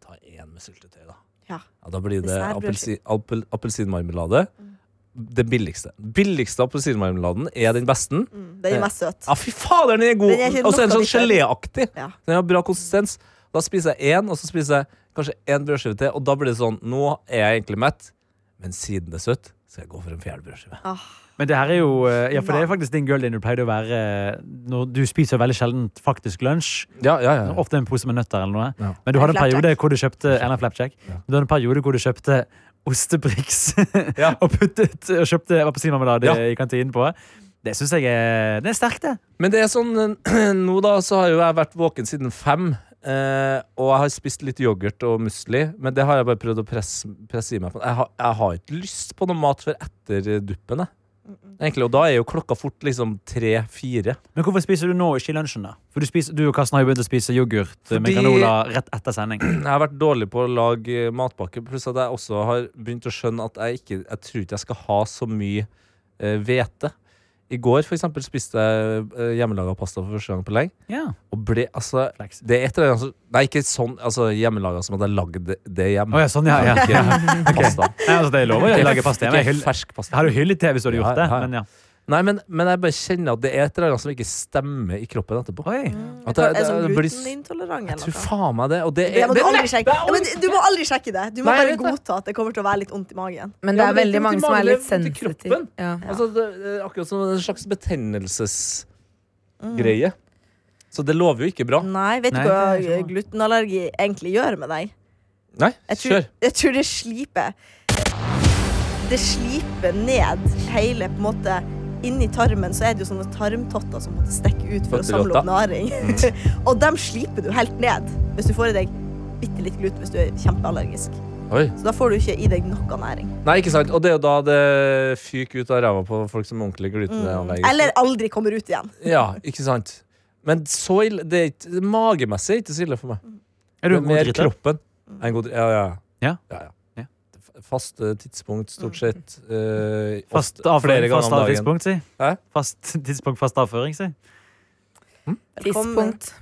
[SPEAKER 5] ta en med syltetøy, da.
[SPEAKER 2] Ja.
[SPEAKER 5] Ja, da blir det
[SPEAKER 2] Dessertbrødskive.
[SPEAKER 5] appelsi- appel- appelsinmarmelade. Det billigste. Billigste appelsinmarmeladen er den beste.
[SPEAKER 2] Mm, Den er mest søt.
[SPEAKER 5] Ja, fy fader, den er god!
[SPEAKER 2] Den er ikke
[SPEAKER 5] Og så er den
[SPEAKER 2] noe
[SPEAKER 5] sånn geléaktig.
[SPEAKER 2] Ja.
[SPEAKER 5] Den har bra konsistens. Da spiser jeg én, og så spiser jeg kanskje én brødskive til, og da blir det sånn Nå er jeg egentlig mett, men siden det er søtt, skal jeg gå for en fjerde brødskive.
[SPEAKER 2] Ah.
[SPEAKER 4] Men det her er jo eh, Ja, for det er faktisk din girl din du pleide å være eh, når du spiser veldig sjelden faktisk lunsj.
[SPEAKER 5] Ja, ja, ja.
[SPEAKER 4] Ofte en pose med nøtter eller noe.
[SPEAKER 5] Ja.
[SPEAKER 4] Men du hadde en
[SPEAKER 2] Flapjack.
[SPEAKER 4] periode hvor du kjøpte eller en flapjack.
[SPEAKER 5] Ja.
[SPEAKER 4] Du hadde en periode hvor du kjøpte ostebriks
[SPEAKER 5] (laughs) Ja.
[SPEAKER 4] og, puttet, og kjøpte appelsinmarmelade
[SPEAKER 5] Ja.
[SPEAKER 4] i kantinen på. Det syns jeg er Det er sterkt, det.
[SPEAKER 5] Men det er sånn eh, (clears throat) Nå da så har jo jeg vært våken siden fem eh, Og jeg har spist litt yoghurt og musli Men det har jeg bare prøvd å presse, presse i meg på. jeg har, jeg har ikke lyst på noe mat før etter eh, duppen jeg. Egentlig, og da er jo klokka fort liksom tre-fire
[SPEAKER 4] Men hvorfor spiser du nå ikke i lunsjen, da? For du, spiser, du og Karsten har jo begynt å spise yoghurt
[SPEAKER 5] Fordi-
[SPEAKER 4] med granola rett etter sending.
[SPEAKER 5] (clears throat) Jeg har vært dårlig på å lage eh, matpakke Pluss at jeg også har begynt å skjønne at jeg ikke Jeg tror ikke jeg skal ha så mye eh, hvete I går for eksempel spiste jeg eh, hjemmelaga pasta for første gang på lenge
[SPEAKER 4] Ja,
[SPEAKER 5] Og ble, altså,
[SPEAKER 4] flaks.
[SPEAKER 5] Det er et eller annet som- Nei, ikke sånn altså, hjemmelaga som at jeg lagde det- det hjemme.
[SPEAKER 4] Å ja, sånn, ja. ja.
[SPEAKER 5] Ikke pasta.
[SPEAKER 4] Nei, altså, det er lov å lage pasta hjemme. Jeg,
[SPEAKER 5] Ikke
[SPEAKER 4] hyll-
[SPEAKER 5] fersk pasta.
[SPEAKER 4] jeg hadde jo hyllet det hvis du hadde gjort
[SPEAKER 5] Ja,
[SPEAKER 4] det,
[SPEAKER 5] ja, ja.
[SPEAKER 4] men ja.
[SPEAKER 5] Nei, men, men jeg bare kjenner at det er et eller annet som ikke stemmer i kroppen etterpå.
[SPEAKER 4] Oi.
[SPEAKER 5] At
[SPEAKER 2] Er
[SPEAKER 5] det,
[SPEAKER 2] det sånn
[SPEAKER 5] det, det blir s-
[SPEAKER 2] glutenintolerant
[SPEAKER 5] jeg
[SPEAKER 2] eller
[SPEAKER 5] tror
[SPEAKER 2] noe?
[SPEAKER 5] faen meg det. Og
[SPEAKER 2] Det
[SPEAKER 5] det er,
[SPEAKER 2] må du,
[SPEAKER 5] det er
[SPEAKER 2] aldri sjekke. Ja, men du må aldri sjekke det. Du må
[SPEAKER 5] Nei, jeg
[SPEAKER 2] bare
[SPEAKER 5] vet det.
[SPEAKER 2] godta at det kommer til å være litt vondt i magen.
[SPEAKER 3] Men det er
[SPEAKER 5] Ja, men det
[SPEAKER 3] veldig
[SPEAKER 5] er
[SPEAKER 3] mange
[SPEAKER 5] vondt i
[SPEAKER 3] som er
[SPEAKER 5] magen,
[SPEAKER 3] litt
[SPEAKER 5] det er vondt i
[SPEAKER 3] sensitive.
[SPEAKER 5] kroppen.
[SPEAKER 3] Ja.
[SPEAKER 5] altså, det er akkurat som en slags
[SPEAKER 2] Mm.
[SPEAKER 5] betennelsesgreie. Så det lover jo ikke bra.
[SPEAKER 2] Nei, vet
[SPEAKER 4] Nei,
[SPEAKER 2] du hva
[SPEAKER 4] det er sånn.
[SPEAKER 2] glutenallergi egentlig gjør med deg?
[SPEAKER 5] Nei,
[SPEAKER 2] Jeg tror,
[SPEAKER 5] kjør.
[SPEAKER 2] jeg tror det sliper Det sliper ned hele på en måte Inni tarmen så er det jo sånne tarmtotter som måtte stikke ut for å samle opp (laughs)
[SPEAKER 5] Fotterotter.
[SPEAKER 2] næring. og dem sliper du helt ned hvis du får i deg bitte litt gluten hvis du er kjempeallergisk.
[SPEAKER 5] Oi.
[SPEAKER 2] Så da får du ikke i deg noe næring.
[SPEAKER 5] Nei, ikke sant. Og det er jo da det fyker ut av ræva på folk som er ordentlig glutenanlegg.
[SPEAKER 2] Mm. Eller aldri kommer ut igjen.
[SPEAKER 5] Ja, ikke sant. Men så ille det er ikke, Magemessig er ikke så ille for meg.
[SPEAKER 4] Er du en
[SPEAKER 5] det er
[SPEAKER 4] god
[SPEAKER 5] mer
[SPEAKER 4] driter?
[SPEAKER 5] kroppen. Jeg er en god dri- ja,
[SPEAKER 4] Ja.
[SPEAKER 5] ja,
[SPEAKER 4] Ja.
[SPEAKER 5] F- Faste tidspunkt, stort sett. eh,
[SPEAKER 4] Fast
[SPEAKER 5] ofte-
[SPEAKER 4] avføring,
[SPEAKER 5] flere ganger
[SPEAKER 4] fast
[SPEAKER 5] om dagen.
[SPEAKER 4] tidspunkt, si.
[SPEAKER 5] Hæ?
[SPEAKER 4] Fast tidspunkt, fast avføring, si.
[SPEAKER 2] Velkommen.
[SPEAKER 3] Tidspunkt.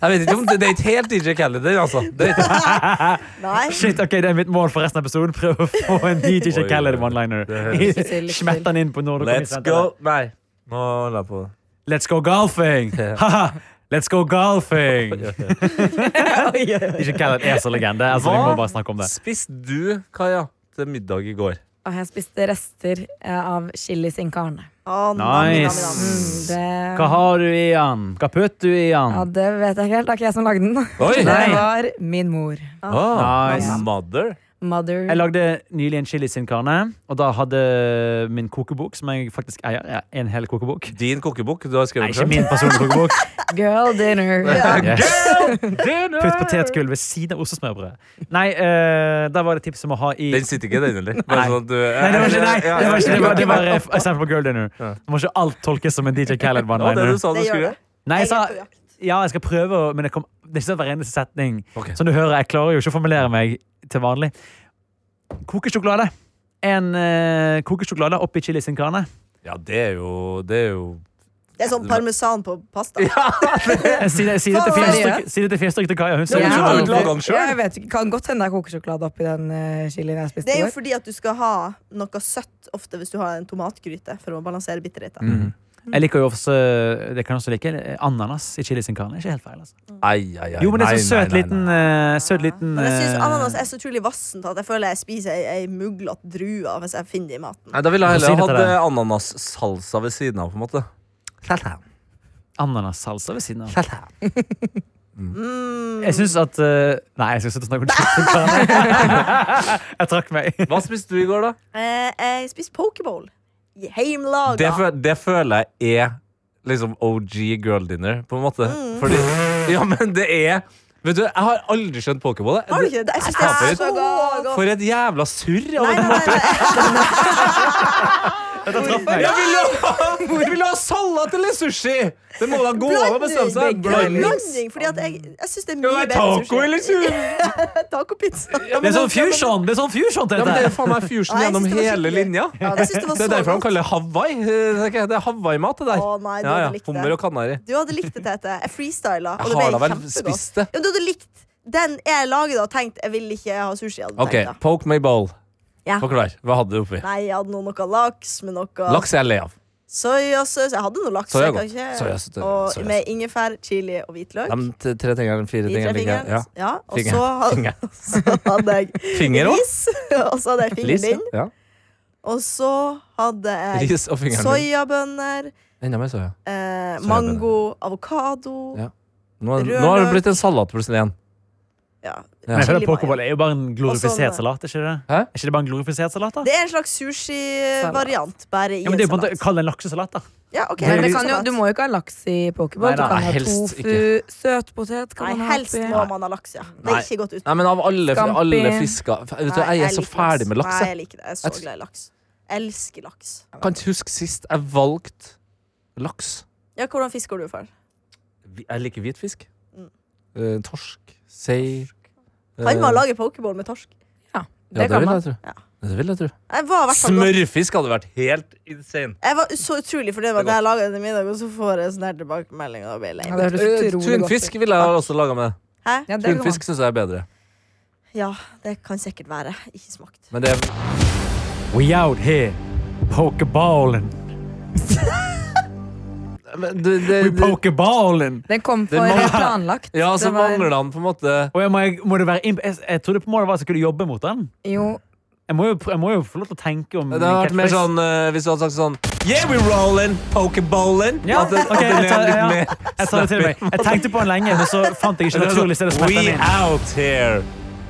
[SPEAKER 5] Jeg vet ikke om det, det er ikke helt DJ Calendar, altså. Det
[SPEAKER 4] (laughs)
[SPEAKER 5] er ikke,
[SPEAKER 2] Nei.
[SPEAKER 4] Shit, ok, Det er mitt mål for resten av episoden. Prøv å få en DJ
[SPEAKER 5] Oi,
[SPEAKER 4] Kjell
[SPEAKER 5] oi, oi.
[SPEAKER 4] one-liner.
[SPEAKER 5] (laughs) Det
[SPEAKER 3] høres-
[SPEAKER 4] Smett den inn på når du kommer inn.
[SPEAKER 5] let's go Nei. Nå holder jeg på.
[SPEAKER 4] Let's go golfing! (laughs) Haha, Let's go
[SPEAKER 5] (laughs)
[SPEAKER 4] golfing! Ikke kall det ESO-legende. Altså, vi må
[SPEAKER 5] Hva?
[SPEAKER 4] bare snakke om det.
[SPEAKER 5] (laughs) Spiste du, Kaja, til middag i går?
[SPEAKER 3] Og jeg spiste rester eh, av chili sin carne.
[SPEAKER 2] Å, nam, nam,
[SPEAKER 4] Nice.
[SPEAKER 2] nam.
[SPEAKER 3] Mm, det-
[SPEAKER 4] Hva har du i den? Hva putter du i
[SPEAKER 3] Ja,
[SPEAKER 4] den?
[SPEAKER 3] det vet jeg ikke helt. Det er ikke jeg som lagde den.
[SPEAKER 5] Oi!
[SPEAKER 3] Det var min mor.
[SPEAKER 5] Ah,
[SPEAKER 4] Nice.
[SPEAKER 5] Mother.
[SPEAKER 3] Mother.
[SPEAKER 4] Jeg lagde nylig en chili sin carne, og da hadde min kokebok, som jeg faktisk eier, ja, en hel kokebok
[SPEAKER 5] Din kokebok. Du har
[SPEAKER 4] Nei,
[SPEAKER 5] skrevet
[SPEAKER 4] ikke
[SPEAKER 5] den
[SPEAKER 4] min personlige kokebok.
[SPEAKER 3] Girl dinner.
[SPEAKER 4] (laughs) Yes.
[SPEAKER 5] sjøl.
[SPEAKER 4] Putt potetgull ved siden av ostesmørbrød. Nei, eh, da var det tips om å ha i
[SPEAKER 5] Den sitter ikke, den heller. sånn
[SPEAKER 4] Nei. Nei, det var ikke, nei, det var ikke det. Var, det var eh, eksempel på girl dinner.
[SPEAKER 5] Ja.
[SPEAKER 4] Det må ikke alt tolkes som en DJ Khaled
[SPEAKER 5] Det var det
[SPEAKER 4] one-liner.
[SPEAKER 5] du sa du
[SPEAKER 2] Det gjør
[SPEAKER 5] skulle
[SPEAKER 2] det.
[SPEAKER 4] Nei,
[SPEAKER 2] Jeg
[SPEAKER 4] jeg sa
[SPEAKER 2] er på jakt.
[SPEAKER 4] ja, jeg skal prøve, å- men det, kom, det er ikke sånn hver eneste setning.
[SPEAKER 5] Ok.
[SPEAKER 4] Som du hører, jeg klarer jo ikke å formulere meg til vanlig. Kokesjokolade. En eh, kokesjokolade oppi chili sin carne.
[SPEAKER 5] Ja, det er jo Det er jo
[SPEAKER 2] Det er sånn parmesan på pasta.
[SPEAKER 4] Eh, Si det si det
[SPEAKER 2] Faen,
[SPEAKER 4] til firestykket si det til firestykket til Kaja. Hun
[SPEAKER 5] Ja,
[SPEAKER 4] ser
[SPEAKER 5] men
[SPEAKER 4] ut
[SPEAKER 5] du
[SPEAKER 4] som
[SPEAKER 5] har jo
[SPEAKER 4] en-
[SPEAKER 5] laget den selv.
[SPEAKER 3] Jeg vet ikke, Kan godt hende det er kokesjokolade oppi den eh, chilien jeg spiste
[SPEAKER 2] Det er
[SPEAKER 3] i
[SPEAKER 2] jo
[SPEAKER 3] går.
[SPEAKER 2] fordi at du skal ha noe søtt ofte hvis du har en tomatgryte for å balansere bitterheten.
[SPEAKER 5] Mm.
[SPEAKER 4] Jeg liker jo også Det kan jeg også like eh, ananas i chili sin carne. Ikke helt feil, altså.
[SPEAKER 5] Ai, ai, ai.
[SPEAKER 4] Jo, men det er
[SPEAKER 5] Nei,
[SPEAKER 4] så
[SPEAKER 5] nei,
[SPEAKER 4] søt
[SPEAKER 5] nei,
[SPEAKER 4] liten
[SPEAKER 5] nei.
[SPEAKER 4] eh, Søt liten
[SPEAKER 2] Men jeg synes
[SPEAKER 4] eh,
[SPEAKER 2] ananas er så utrolig vassent at jeg føler jeg spiser ei, ei muglete drue hvis jeg finner det i maten.
[SPEAKER 5] Nei, Da ville jeg
[SPEAKER 4] Få si det til
[SPEAKER 5] heller hatt
[SPEAKER 4] deg.
[SPEAKER 5] eh, ananassalsa ved siden av, på en måte.
[SPEAKER 4] Ananassalsa ved siden av.
[SPEAKER 2] Mm.
[SPEAKER 4] Jeg syns at eh, Nei, jeg skal slutte å snakke om chili sin
[SPEAKER 5] (laughs)
[SPEAKER 4] carne. Jeg trakk meg.
[SPEAKER 5] Hva spiste du i går, da?
[SPEAKER 2] Eh, jeg spiser pokeball.
[SPEAKER 5] Det,
[SPEAKER 2] Heimlaga.
[SPEAKER 5] fø det føler jeg er liksom OG girl dinner, på en måte.
[SPEAKER 2] Mm.
[SPEAKER 5] Fordi Ja, men det er Vet du, jeg har aldri skjønt pokeball. jeg.
[SPEAKER 2] Har du ikke det? Jeg synes det
[SPEAKER 5] Nei,
[SPEAKER 2] er så godt.
[SPEAKER 5] For et jævla surr! av
[SPEAKER 2] Nei,
[SPEAKER 5] en-
[SPEAKER 2] nei, nei,
[SPEAKER 5] (laughs)
[SPEAKER 2] nei.
[SPEAKER 4] Dette traff meg.
[SPEAKER 5] Jeg vil ha, jeg vil ha salat eller sushi! Det må da gå an å bestemme seg. Blanding.
[SPEAKER 2] Blanding. Fordi at jeg, jeg synes det er
[SPEAKER 5] Skal det
[SPEAKER 2] mye
[SPEAKER 5] være
[SPEAKER 2] bedre
[SPEAKER 5] taco eller sushi?
[SPEAKER 2] Tacopizza.
[SPEAKER 5] Ja,
[SPEAKER 4] Det
[SPEAKER 5] men
[SPEAKER 4] er sånn fusion! Det er sånn fusion til
[SPEAKER 5] Ja, men det er jo
[SPEAKER 4] dette.
[SPEAKER 5] faen meg fusion
[SPEAKER 2] Nei, jeg
[SPEAKER 5] gjennom
[SPEAKER 2] synes det var
[SPEAKER 5] hele
[SPEAKER 2] skikkelig.
[SPEAKER 5] linja.
[SPEAKER 2] Ja, det synes jeg var
[SPEAKER 5] Det er
[SPEAKER 2] så
[SPEAKER 5] derfor han
[SPEAKER 2] godt.
[SPEAKER 5] kaller det Hawaii. Eh, tenker jeg. Det er Hawaii-mat, det der.
[SPEAKER 2] Å nei, du
[SPEAKER 5] Ja,
[SPEAKER 2] hadde
[SPEAKER 5] ja.
[SPEAKER 2] likt
[SPEAKER 5] Hummer
[SPEAKER 2] det.
[SPEAKER 5] og kanari.
[SPEAKER 2] Du hadde likt det, Tete. Jeg freestyla, og
[SPEAKER 5] Jeg
[SPEAKER 2] det ble
[SPEAKER 5] har da vel
[SPEAKER 2] kjempegodt.
[SPEAKER 5] spist det.
[SPEAKER 2] Ja, men du hadde likt den jeg lager da, og tenkt jeg vil ikke ha sushi. Hadde
[SPEAKER 5] OK,
[SPEAKER 2] tenkt, da.
[SPEAKER 5] poke my bowl.
[SPEAKER 2] Ja.
[SPEAKER 5] Forklar. Hva hadde du oppi?
[SPEAKER 2] Nei, jeg hadde noe, noe laks med noe
[SPEAKER 5] Laks er jeg lei av.
[SPEAKER 2] soyasaus. Jeg hadde noe laks. jeg
[SPEAKER 5] Soya er
[SPEAKER 2] kan
[SPEAKER 5] godt.
[SPEAKER 2] ikke-
[SPEAKER 5] Soyasaus, det-
[SPEAKER 2] og
[SPEAKER 5] soyasaus.
[SPEAKER 2] med ingefær, chili og hvitløk.
[SPEAKER 5] De t- tre tingene, fire
[SPEAKER 2] I tre fingre.
[SPEAKER 5] tingene. ligger- Ja.
[SPEAKER 2] Ja, og
[SPEAKER 5] Finger.
[SPEAKER 2] så hadde,
[SPEAKER 5] Finger.
[SPEAKER 2] (laughs) så hadde
[SPEAKER 5] (laughs)
[SPEAKER 2] jeg
[SPEAKER 5] Finger òg?
[SPEAKER 2] ris, (laughs) og så hadde jeg
[SPEAKER 5] Ris, ja.
[SPEAKER 2] fingerbind.
[SPEAKER 5] ja.
[SPEAKER 2] Og så hadde jeg
[SPEAKER 5] Ris og fingeren.
[SPEAKER 2] soyabønner,
[SPEAKER 5] Enda mer soya.
[SPEAKER 2] eh,
[SPEAKER 5] Soyabønner.
[SPEAKER 2] mango, avokado
[SPEAKER 5] Ja. Nå,
[SPEAKER 2] Rødløk.
[SPEAKER 5] nå har det blitt en salat plutselig igjen.
[SPEAKER 2] ja.
[SPEAKER 5] Ja.
[SPEAKER 4] Men jeg føler
[SPEAKER 2] chili mayo.
[SPEAKER 4] Pokéball er jo bare en glorifisert
[SPEAKER 2] Og sånn-
[SPEAKER 4] salat. er ikke det?
[SPEAKER 5] Hæ?
[SPEAKER 4] Er ikke det bare en glorifisert salat, da?
[SPEAKER 2] Det er en slags sushi-variant, bare i
[SPEAKER 4] Ja, men det
[SPEAKER 2] en
[SPEAKER 4] er jo på en
[SPEAKER 2] salat.
[SPEAKER 4] måte Kall det en laksesalat, da.
[SPEAKER 2] Ja, ok,
[SPEAKER 3] Men
[SPEAKER 2] en
[SPEAKER 3] det kan jo,
[SPEAKER 2] salat.
[SPEAKER 3] du må jo ikke ha laks i
[SPEAKER 4] Nei,
[SPEAKER 3] pokeball. Du
[SPEAKER 4] nei,
[SPEAKER 3] kan ha
[SPEAKER 5] helst
[SPEAKER 3] tofu, søtpotet
[SPEAKER 2] Nei,
[SPEAKER 3] kan man ha
[SPEAKER 2] helst
[SPEAKER 3] oppi.
[SPEAKER 2] må man ha laks, ja. Det
[SPEAKER 5] Nei.
[SPEAKER 2] er ikke godt ut.
[SPEAKER 5] Nei, men av alle,
[SPEAKER 3] Scampi.
[SPEAKER 5] alle fisker Vet du,
[SPEAKER 2] Nei,
[SPEAKER 5] Jeg er så
[SPEAKER 2] liker laks.
[SPEAKER 5] ferdig med laks.
[SPEAKER 2] Nei,
[SPEAKER 5] Jeg
[SPEAKER 2] jeg liker det. Jeg er så
[SPEAKER 5] Jeg-
[SPEAKER 2] glad i laks. Elsker laks.
[SPEAKER 5] Jeg kan ikke huske sist jeg valgte laks.
[SPEAKER 2] Ja, hvordan fisker du for?
[SPEAKER 5] Vi- Jeg liker hvitfisk.
[SPEAKER 2] Mm.
[SPEAKER 5] Eh, torsk, sei Eh.
[SPEAKER 2] Kan man lage pokeball med torsk?
[SPEAKER 5] det, ja,
[SPEAKER 3] Det
[SPEAKER 5] det
[SPEAKER 3] kan
[SPEAKER 5] vil
[SPEAKER 3] man.
[SPEAKER 5] jeg tro.
[SPEAKER 2] Ja.
[SPEAKER 5] Det vil jeg tro.
[SPEAKER 2] Jeg var i hvert fall godt.
[SPEAKER 5] Smørfisk hadde vært helt insane.
[SPEAKER 2] Jeg var så utrolig fornøyd med at
[SPEAKER 5] Det er
[SPEAKER 2] jeg laga den i middag, og så får jeg sånn her tilbakemelding. Og da blir jeg lei
[SPEAKER 3] Ja,
[SPEAKER 2] meg.
[SPEAKER 3] det høres
[SPEAKER 5] Eh,
[SPEAKER 3] utrolig godt
[SPEAKER 5] Tunfisk
[SPEAKER 3] ut.
[SPEAKER 5] ville jeg også laga med.
[SPEAKER 2] Hæ?
[SPEAKER 3] Ja, det kan man.
[SPEAKER 5] Tunfisk syns jeg er bedre.
[SPEAKER 2] Ja, det kan sikkert være. Ikke smakt.
[SPEAKER 5] Men det er
[SPEAKER 4] We out here. Pokeballen.
[SPEAKER 5] men det, det,
[SPEAKER 4] We
[SPEAKER 5] det,
[SPEAKER 4] pokeballen.
[SPEAKER 3] Den kom
[SPEAKER 5] Det
[SPEAKER 3] for
[SPEAKER 5] mangler-
[SPEAKER 3] planlagt.
[SPEAKER 5] Ja, så
[SPEAKER 3] Det var-
[SPEAKER 5] mangler han på en måte
[SPEAKER 4] Og jeg, må, jeg, må det være imp jeg, jeg trodde på målet var at jeg skulle jobbe mot den.
[SPEAKER 3] Jo,
[SPEAKER 4] Jeg må jo, pr- jeg må jo få lov til å tenke om
[SPEAKER 5] Det hadde vært mer sånn eh, hvis du hadde sagt sånn Yeah, we rollin', pokeballen.
[SPEAKER 4] Ja,
[SPEAKER 5] At det- at
[SPEAKER 4] ok,
[SPEAKER 5] den er
[SPEAKER 4] jeg tar-
[SPEAKER 5] litt
[SPEAKER 4] ja.
[SPEAKER 5] mer
[SPEAKER 4] Jeg tar det til meg. Jeg tenkte på den lenge, men så fant
[SPEAKER 5] (laughs)
[SPEAKER 4] jeg ikke
[SPEAKER 5] Eller
[SPEAKER 4] naturlig sted å
[SPEAKER 5] sånn,
[SPEAKER 4] smette den
[SPEAKER 5] We
[SPEAKER 4] inn.
[SPEAKER 5] out here,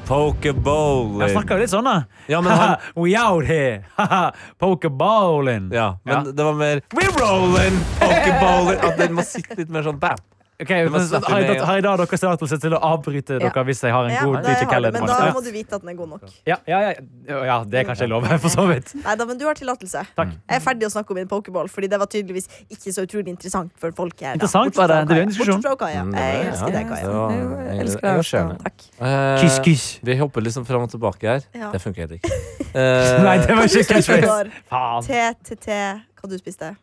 [SPEAKER 4] Jeg
[SPEAKER 5] pokeballing.
[SPEAKER 4] snakker jo litt sånn, da.
[SPEAKER 5] Ja, men han
[SPEAKER 4] (laughs) We out here. (laughs) Pokeballen.
[SPEAKER 5] Ja, men det var mer We rollin', pokeballing. At den må sitte litt mer sånn bam.
[SPEAKER 4] Ok, men, så, har, jeg, har jeg da deres tillatelse til å avbryte
[SPEAKER 2] Ja.
[SPEAKER 4] dere hvis jeg har en
[SPEAKER 2] Ja, det
[SPEAKER 4] god DJ
[SPEAKER 2] har du,
[SPEAKER 4] Khaled?
[SPEAKER 2] men da må du vite at den er god nok.
[SPEAKER 4] Ja, ja, ja, ja, det kan ikke jeg love, (laughs) for så vidt.
[SPEAKER 2] Nei da, men du har tillatelse.
[SPEAKER 4] Takk.
[SPEAKER 2] Jeg er ferdig å snakke om min pokéball, Fordi det var tydeligvis ikke så utrolig interessant for folk her. da.
[SPEAKER 4] Interessant var
[SPEAKER 2] Bortsett
[SPEAKER 4] det.
[SPEAKER 2] fra
[SPEAKER 4] Det er en
[SPEAKER 2] Kaja.
[SPEAKER 4] diskusjon.
[SPEAKER 2] Bortsett fra Kaja.
[SPEAKER 5] Mm, det
[SPEAKER 2] Jeg elsker
[SPEAKER 5] var- ja. eh,
[SPEAKER 2] deg, Kaja.
[SPEAKER 5] Det var
[SPEAKER 3] Jeg elsker deg
[SPEAKER 5] engasjerende.
[SPEAKER 3] også.
[SPEAKER 2] Takk.
[SPEAKER 5] Eh,
[SPEAKER 4] Kyss, kyss.
[SPEAKER 5] Vi hopper liksom fram og tilbake her.
[SPEAKER 2] Ja.
[SPEAKER 5] Det funker heller ikke.
[SPEAKER 4] Nei,
[SPEAKER 5] Eh,
[SPEAKER 4] det var ikke catchphrase.
[SPEAKER 2] Ivar,
[SPEAKER 4] Faen.
[SPEAKER 2] TTT, hva du spiste?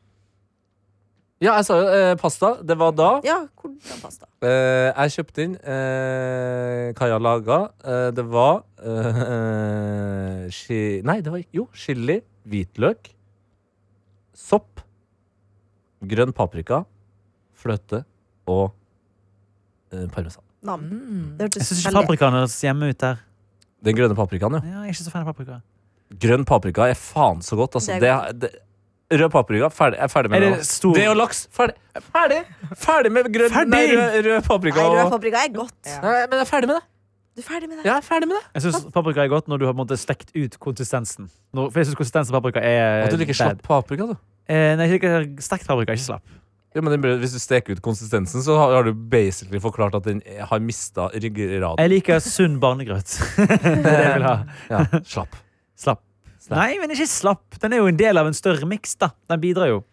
[SPEAKER 5] Ja, jeg sa jo eh, pasta. Det var da.
[SPEAKER 2] Ja, hvordan pasta?
[SPEAKER 5] Eh, jeg kjøpte inn eh, Kaja laga. Eh, det var eh, chi Nei, det var jo chili, hvitløk, sopp, grønn paprika, fløte og eh, parmesan.
[SPEAKER 2] Nam.
[SPEAKER 3] Mm.
[SPEAKER 2] Det hørtes
[SPEAKER 4] Jeg syns ikke
[SPEAKER 2] veldig-
[SPEAKER 4] paprikaen høres hjemme ut der.
[SPEAKER 5] Den grønne paprikaen, jo.
[SPEAKER 4] Ja, jeg er ikke så fan av paprika.
[SPEAKER 5] Grønn paprika er faen så godt. Altså.
[SPEAKER 2] Det
[SPEAKER 5] Det
[SPEAKER 2] er
[SPEAKER 5] er det, rød paprika, ferdig, jeg er ferdig med
[SPEAKER 4] Er
[SPEAKER 5] det.
[SPEAKER 4] det
[SPEAKER 5] nå.
[SPEAKER 4] stor-
[SPEAKER 5] Det og laks. Ferdig, ferdig, ferdig med grønn
[SPEAKER 4] Ferdig!
[SPEAKER 5] Nei, rød, rød paprika.
[SPEAKER 2] Nei, rød
[SPEAKER 5] og-
[SPEAKER 2] paprika er godt.
[SPEAKER 5] Nei, men jeg er ferdig med det.
[SPEAKER 2] Du er ferdig med det?
[SPEAKER 5] Jeg er ferdig med det.
[SPEAKER 4] Jeg syns paprika er godt når du har på en måte stekt ut konsistensen. Når, for jeg synes konsistensen av paprika er
[SPEAKER 5] At du liker slapp
[SPEAKER 4] bad.
[SPEAKER 5] paprika, du.
[SPEAKER 4] Eh, nei, jeg liker stekt paprika, ikke slapp.
[SPEAKER 5] Ja, men den ble- Hvis du steker ut konsistensen, så har har du basically forklart at den er- har mista ryggraden.
[SPEAKER 4] Jeg liker sunn barnegrøt. (laughs) det er det jeg vil ha.
[SPEAKER 5] Ja, slapp.
[SPEAKER 4] Slapp. Nei, men ikke slapp. Den er jo en del av en større miks, da. Den bidrar jo.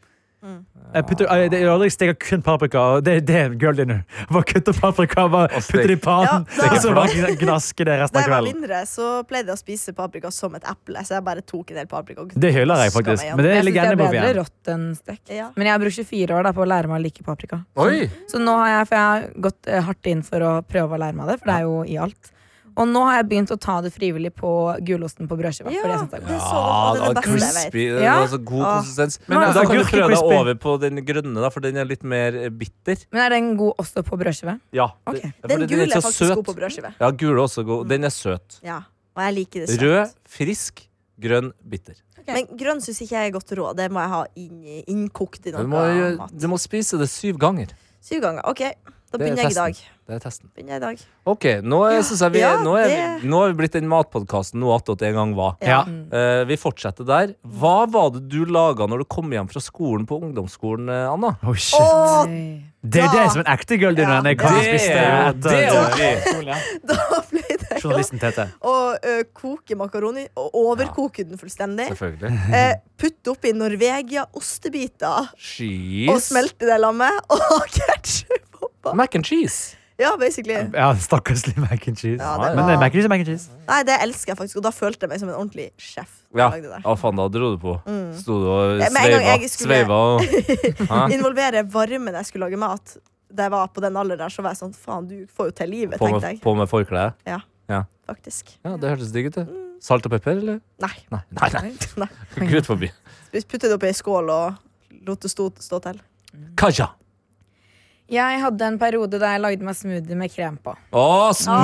[SPEAKER 4] Eh, Jeg putter, jeg, jeg, aldri steker kun paprika. og Det, det er girl dinner. (laughs) Bare kutte paprika, bare
[SPEAKER 5] Og stek-
[SPEAKER 4] putte det i pannen,
[SPEAKER 2] Ja, da-
[SPEAKER 4] og så bare gnaske det resten
[SPEAKER 2] Da
[SPEAKER 4] av
[SPEAKER 2] jeg var
[SPEAKER 4] kvelden.
[SPEAKER 2] mindre, så pleide jeg å spise paprika som et eple. Så jeg bare tok en del paprika. og
[SPEAKER 4] Det hyller jeg
[SPEAKER 2] Skal
[SPEAKER 4] faktisk.
[SPEAKER 2] meg igjen.
[SPEAKER 4] Men det
[SPEAKER 3] Jeg synes
[SPEAKER 4] ligger
[SPEAKER 3] det er
[SPEAKER 4] gjerne på
[SPEAKER 3] bedre
[SPEAKER 4] fjern.
[SPEAKER 3] rått enn stekt.
[SPEAKER 2] Ja.
[SPEAKER 3] Men jeg har brukt 24 år da, på å lære meg å like paprika.
[SPEAKER 5] Oi!
[SPEAKER 3] Så nå har jeg, for jeg har gått eh, hardt inn for å prøve å lære meg det, for det er jo i alt. Og nå har jeg begynt å ta det frivillig på gulosten på brødskiva.
[SPEAKER 2] Ja,
[SPEAKER 3] fordi jeg synes det er godt.
[SPEAKER 2] Det er så godt, og det er det
[SPEAKER 5] ah,
[SPEAKER 2] beste jeg vet.
[SPEAKER 5] crispy. Det
[SPEAKER 3] Ja.
[SPEAKER 5] var så god
[SPEAKER 2] Ah.
[SPEAKER 5] konsistens.
[SPEAKER 4] Men
[SPEAKER 5] Men,
[SPEAKER 4] altså,
[SPEAKER 5] da kan
[SPEAKER 4] agurk
[SPEAKER 5] du
[SPEAKER 4] er
[SPEAKER 5] prøve deg
[SPEAKER 4] crispy.
[SPEAKER 5] over på den grønne, da, for den er litt mer eh, bitter.
[SPEAKER 3] Men er den god også på brødskive?
[SPEAKER 5] Ja,
[SPEAKER 3] Ok.
[SPEAKER 5] det- for
[SPEAKER 2] Den
[SPEAKER 5] den
[SPEAKER 2] gule
[SPEAKER 5] så
[SPEAKER 2] er faktisk god på brødskive.
[SPEAKER 5] Ja, gul er også god. Den er søt.
[SPEAKER 2] Ja, og jeg liker det søtt.
[SPEAKER 5] Rød, frisk, grønn, bitter.
[SPEAKER 2] Men grønn syns ikke jeg er godt råd. Det må jeg ha inn, innkokt i
[SPEAKER 5] Du
[SPEAKER 2] noe
[SPEAKER 5] må, gjøre-
[SPEAKER 2] mat.
[SPEAKER 5] du må spise det syv ganger.
[SPEAKER 2] Syv ganger. OK, da
[SPEAKER 5] Det er
[SPEAKER 2] begynner jeg i dag.
[SPEAKER 5] testen. Det er testen.
[SPEAKER 2] Begynner jeg i dag.
[SPEAKER 5] Ok, nå, er- synes jeg vi,
[SPEAKER 2] Ja,
[SPEAKER 5] nå, er,
[SPEAKER 2] det-
[SPEAKER 5] vi- nå er vi blitt den matpodkasten noe attåt en gang var.
[SPEAKER 2] Ja.
[SPEAKER 4] Ja.
[SPEAKER 5] Eh, vi fortsetter der. Hva var det du laga når du kom hjem fra skolen på ungdomsskolen, eh, Anna?
[SPEAKER 4] Oh, shit.
[SPEAKER 2] Og
[SPEAKER 3] Nei.
[SPEAKER 4] Det er
[SPEAKER 2] da-
[SPEAKER 4] det som en ekte girl dinner.
[SPEAKER 2] Ja.
[SPEAKER 4] når jeg kan
[SPEAKER 5] Det
[SPEAKER 4] spise
[SPEAKER 5] er-
[SPEAKER 4] det
[SPEAKER 5] det er
[SPEAKER 4] etter-
[SPEAKER 2] (laughs) da ble det å
[SPEAKER 4] Journalisten Tete.
[SPEAKER 2] ø, koke makaroni og overkoke den fullstendig.
[SPEAKER 5] Selvfølgelig.
[SPEAKER 2] Eh, putte oppi Norvegia-ostebiter og
[SPEAKER 5] Cheese.
[SPEAKER 2] smelte det lammet. (laughs) Og ketsjup oppå.
[SPEAKER 5] Mac and cheese.
[SPEAKER 2] Ja, basically.
[SPEAKER 4] Ja, stakkarslig mac and cheese.
[SPEAKER 2] Ja,
[SPEAKER 5] det
[SPEAKER 4] Men
[SPEAKER 2] var-
[SPEAKER 4] eh, mac and cheese er mac and cheese.
[SPEAKER 2] Nei, det elsker jeg faktisk, og da følte jeg meg som en ordentlig sjef. da jeg
[SPEAKER 5] Ja,
[SPEAKER 2] lagde det der.
[SPEAKER 5] ja faen, da dro du på. Sto du og
[SPEAKER 2] Ja, med en gang jeg
[SPEAKER 5] sveiva,
[SPEAKER 2] skulle-
[SPEAKER 5] sveiva
[SPEAKER 2] (laughs)
[SPEAKER 5] og Hæ?
[SPEAKER 2] Involvere varmen når jeg skulle lage mat. Da jeg var på den alderen der, så var jeg sånn Faen, du får jo til livet,
[SPEAKER 5] på
[SPEAKER 2] tenkte
[SPEAKER 5] med,
[SPEAKER 2] jeg.
[SPEAKER 5] på med forkleet.
[SPEAKER 2] Faktisk.
[SPEAKER 5] Ja, det hørtes digg ut, det.
[SPEAKER 3] Mm.
[SPEAKER 5] Salt og pepper, eller?
[SPEAKER 2] Nei.
[SPEAKER 5] Nei, nei, nei.
[SPEAKER 2] Nei.
[SPEAKER 5] (laughs) Gud forbi.
[SPEAKER 2] Vi puttet det oppi ei skål og lot det stå, stå til.
[SPEAKER 5] Kaja.
[SPEAKER 3] Jeg hadde en periode da jeg lagde meg smoothie med krem på.
[SPEAKER 5] Å,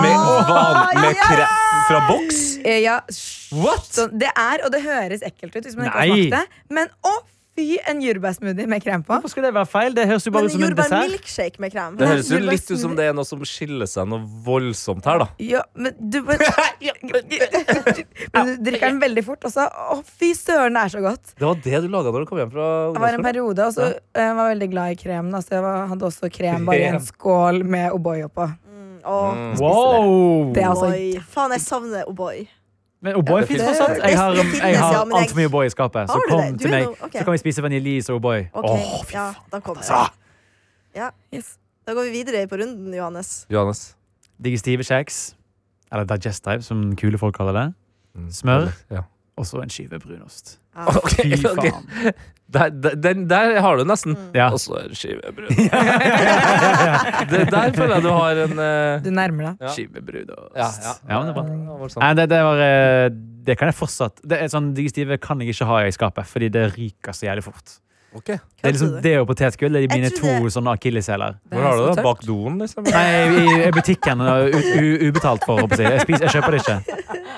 [SPEAKER 5] med, van, med kre fra boks?
[SPEAKER 3] Eh, Ja, sh-
[SPEAKER 5] What?
[SPEAKER 3] sånn, det er, og det høres ekkelt ut hvis man ikke har
[SPEAKER 4] Nei.
[SPEAKER 3] smakt det, men å fy, en jordbærsmoothie med krem på.
[SPEAKER 4] Hvorfor skulle det være feil? Det høres jo bare
[SPEAKER 2] Men
[SPEAKER 4] ut som en dessert.
[SPEAKER 2] jordbærmilkshake med krem.
[SPEAKER 5] Det høres jo
[SPEAKER 3] Nei,
[SPEAKER 5] litt ut som det er noe som skiller seg noe voldsomt her, da.
[SPEAKER 3] Ja, men du bare (laughs) Men du drikker den veldig fort også. Å, fy søren, det er så godt.
[SPEAKER 5] Det var det du laga når du kom hjem fra
[SPEAKER 3] Det var en
[SPEAKER 5] ungdomsskolen?
[SPEAKER 3] periode, og så eh, var jeg veldig glad i krem. Da, så jeg var, hadde også krem bare i en skål med O'boy oppå.
[SPEAKER 4] Mm.
[SPEAKER 2] Åh,
[SPEAKER 5] Mm.
[SPEAKER 4] Wow!
[SPEAKER 3] Det er altså
[SPEAKER 2] Oi. Faen, jeg savner O'boy.
[SPEAKER 4] Men O'boy
[SPEAKER 5] det
[SPEAKER 4] fins
[SPEAKER 5] finnes.
[SPEAKER 4] fortsatt. Jeg har,
[SPEAKER 2] Det finnes,
[SPEAKER 4] jeg har
[SPEAKER 2] ja, men jeg-
[SPEAKER 4] altfor mye O'boy i skapet. Så
[SPEAKER 2] Har du det?
[SPEAKER 4] kom
[SPEAKER 2] Du er
[SPEAKER 4] til meg,
[SPEAKER 2] noe- ok.
[SPEAKER 4] så kan vi spise vaniljeis og O'boy.
[SPEAKER 2] Ok,
[SPEAKER 4] Åh,
[SPEAKER 2] ja, da kommer
[SPEAKER 4] altså.
[SPEAKER 2] jeg. Ja.
[SPEAKER 3] Yes.
[SPEAKER 2] Da går vi videre på runden, Johannes.
[SPEAKER 5] Johannes.
[SPEAKER 4] Digestive kjeks, eller digestive, som kule folk kaller det.
[SPEAKER 5] Mm,
[SPEAKER 4] Smør.
[SPEAKER 5] Ja.
[SPEAKER 4] Og så en skive
[SPEAKER 5] (laughs)
[SPEAKER 4] brunost.
[SPEAKER 2] Ja.
[SPEAKER 5] Ok,
[SPEAKER 4] Fy
[SPEAKER 5] ok.
[SPEAKER 4] faen.
[SPEAKER 5] Der, der, den- der har du nesten.
[SPEAKER 3] Mm.
[SPEAKER 4] Ja.
[SPEAKER 5] Og så en skive brød. det der føler jeg du har en eh,
[SPEAKER 3] Du nærmer deg.
[SPEAKER 5] Ja.
[SPEAKER 4] Skive brunost.
[SPEAKER 5] ja, Sånn.
[SPEAKER 4] Ja, men det er bra.
[SPEAKER 5] Ja, voldsomt.
[SPEAKER 4] Nei, det, det, var, eh, det kan jeg fortsatt Det er sånn Digestive kan jeg ikke ha i skapet, fordi det ryker så jævlig fort.
[SPEAKER 5] Ok.
[SPEAKER 4] Det er liksom
[SPEAKER 2] Kødder du?
[SPEAKER 4] det og potetgull. Det er
[SPEAKER 2] Jeg
[SPEAKER 4] mine
[SPEAKER 2] tror
[SPEAKER 4] to
[SPEAKER 2] det-
[SPEAKER 4] sånne akilleshæler.
[SPEAKER 3] Det
[SPEAKER 5] Hvor
[SPEAKER 3] er
[SPEAKER 5] har du
[SPEAKER 3] så
[SPEAKER 5] det?
[SPEAKER 3] tørt.
[SPEAKER 5] Bak doen, liksom?
[SPEAKER 4] Nei, i, i butikken. og U, u, ubetalt for, håper jeg. å si. Jeg, spiser, jeg kjøper det ikke.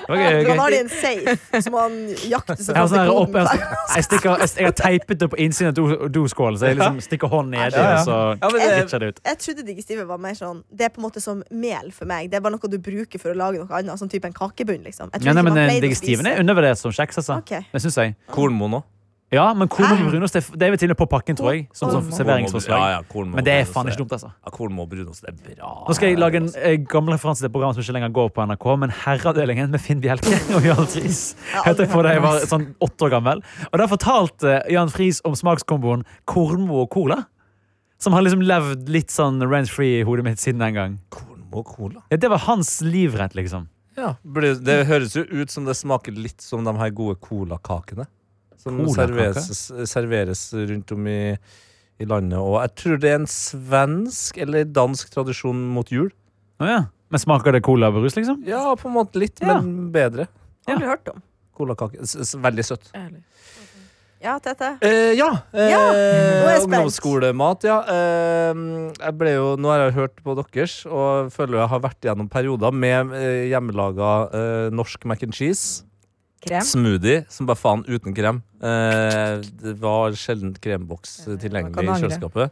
[SPEAKER 4] Det var eh, gøy,
[SPEAKER 2] Han har
[SPEAKER 4] gøy.
[SPEAKER 2] det i en safe, som han jakter seg
[SPEAKER 4] Jeg har,
[SPEAKER 2] fram
[SPEAKER 4] sånn
[SPEAKER 2] til
[SPEAKER 4] her opp,
[SPEAKER 2] koden.
[SPEAKER 4] jeg, har- jeg, stikker, jeg, jeg har teipet det på innsiden av do- doskålen, så jeg liksom stikker hånden nedi,
[SPEAKER 5] Ja, ja.
[SPEAKER 4] og så
[SPEAKER 5] Ja, men det-
[SPEAKER 4] glitcher det ut.
[SPEAKER 2] (laughs) Jeg trodde digestive var mer sånn Det er på en måte som mel for meg. Det er bare noe du bruker for å lage noe annet, som type en kakebunn. liksom Jeg trodde
[SPEAKER 4] Ja, nei,
[SPEAKER 2] ikke man
[SPEAKER 4] men eh, den
[SPEAKER 2] pleide å
[SPEAKER 4] digestiven
[SPEAKER 2] spise-
[SPEAKER 4] er undervurdert som kjeks, altså.
[SPEAKER 2] Ok. Ah.
[SPEAKER 4] Det syns jeg.
[SPEAKER 5] Kornmo nå.
[SPEAKER 4] Ja, men kornmobb og brunost det er f- det er vel til og med på pakken, tror jeg.
[SPEAKER 2] Oh.
[SPEAKER 4] Som, som
[SPEAKER 3] Kornmobb.
[SPEAKER 5] Ja,
[SPEAKER 4] serveringsforslag.
[SPEAKER 5] ja, kornmobb
[SPEAKER 4] Men det er
[SPEAKER 5] brunost
[SPEAKER 4] faen ikke dumt, altså.
[SPEAKER 5] Ja, kornmobb brunost det er bra.
[SPEAKER 4] Nå skal jeg lage en eh, gammel referanse til et program som ikke lenger går på NRK, men Herreavdelingen med Finn Bjelke og Jan Friis. Hørte jeg på da jeg var sånn åtte år gammel. Og der fortalte eh, Jan Friis om smakskomboen kornmo og cola. Som har liksom levd litt sånn rent-free i hodet mitt siden den gang.
[SPEAKER 5] Kornmobb og cola.
[SPEAKER 4] Ja, det var hans livrett, liksom.
[SPEAKER 5] Ja, blir- Det høres jo ut som det smaker litt som de her gode colakakene. Som
[SPEAKER 4] Colakake?
[SPEAKER 5] serveres, serveres rundt om i, i landet. Og jeg tror det er en svensk eller dansk tradisjon mot jul.
[SPEAKER 4] Å ja. Men smaker det cola og brus, liksom?
[SPEAKER 5] Ja, på en måte litt,
[SPEAKER 4] Ja.
[SPEAKER 5] men bedre.
[SPEAKER 2] Har du hørt om?
[SPEAKER 5] Colakake. S- s- Veldig søtt.
[SPEAKER 2] Ja, Tete.
[SPEAKER 5] Eh, ja. Eh,
[SPEAKER 2] Ja, nå er jeg spent.
[SPEAKER 5] ungdomsskolemat, ja. Eh, jeg ble jo, nå har jeg hørt på deres og føler jeg har vært gjennom perioder med eh, hjemmelaga eh, norsk mac and cheese.
[SPEAKER 3] Krem.
[SPEAKER 5] Smoothie som bare faen uten krem. Eh, det var sjelden kremboks eh,
[SPEAKER 3] man kan
[SPEAKER 5] tilgjengelig i
[SPEAKER 3] angre.
[SPEAKER 5] kjøleskapet.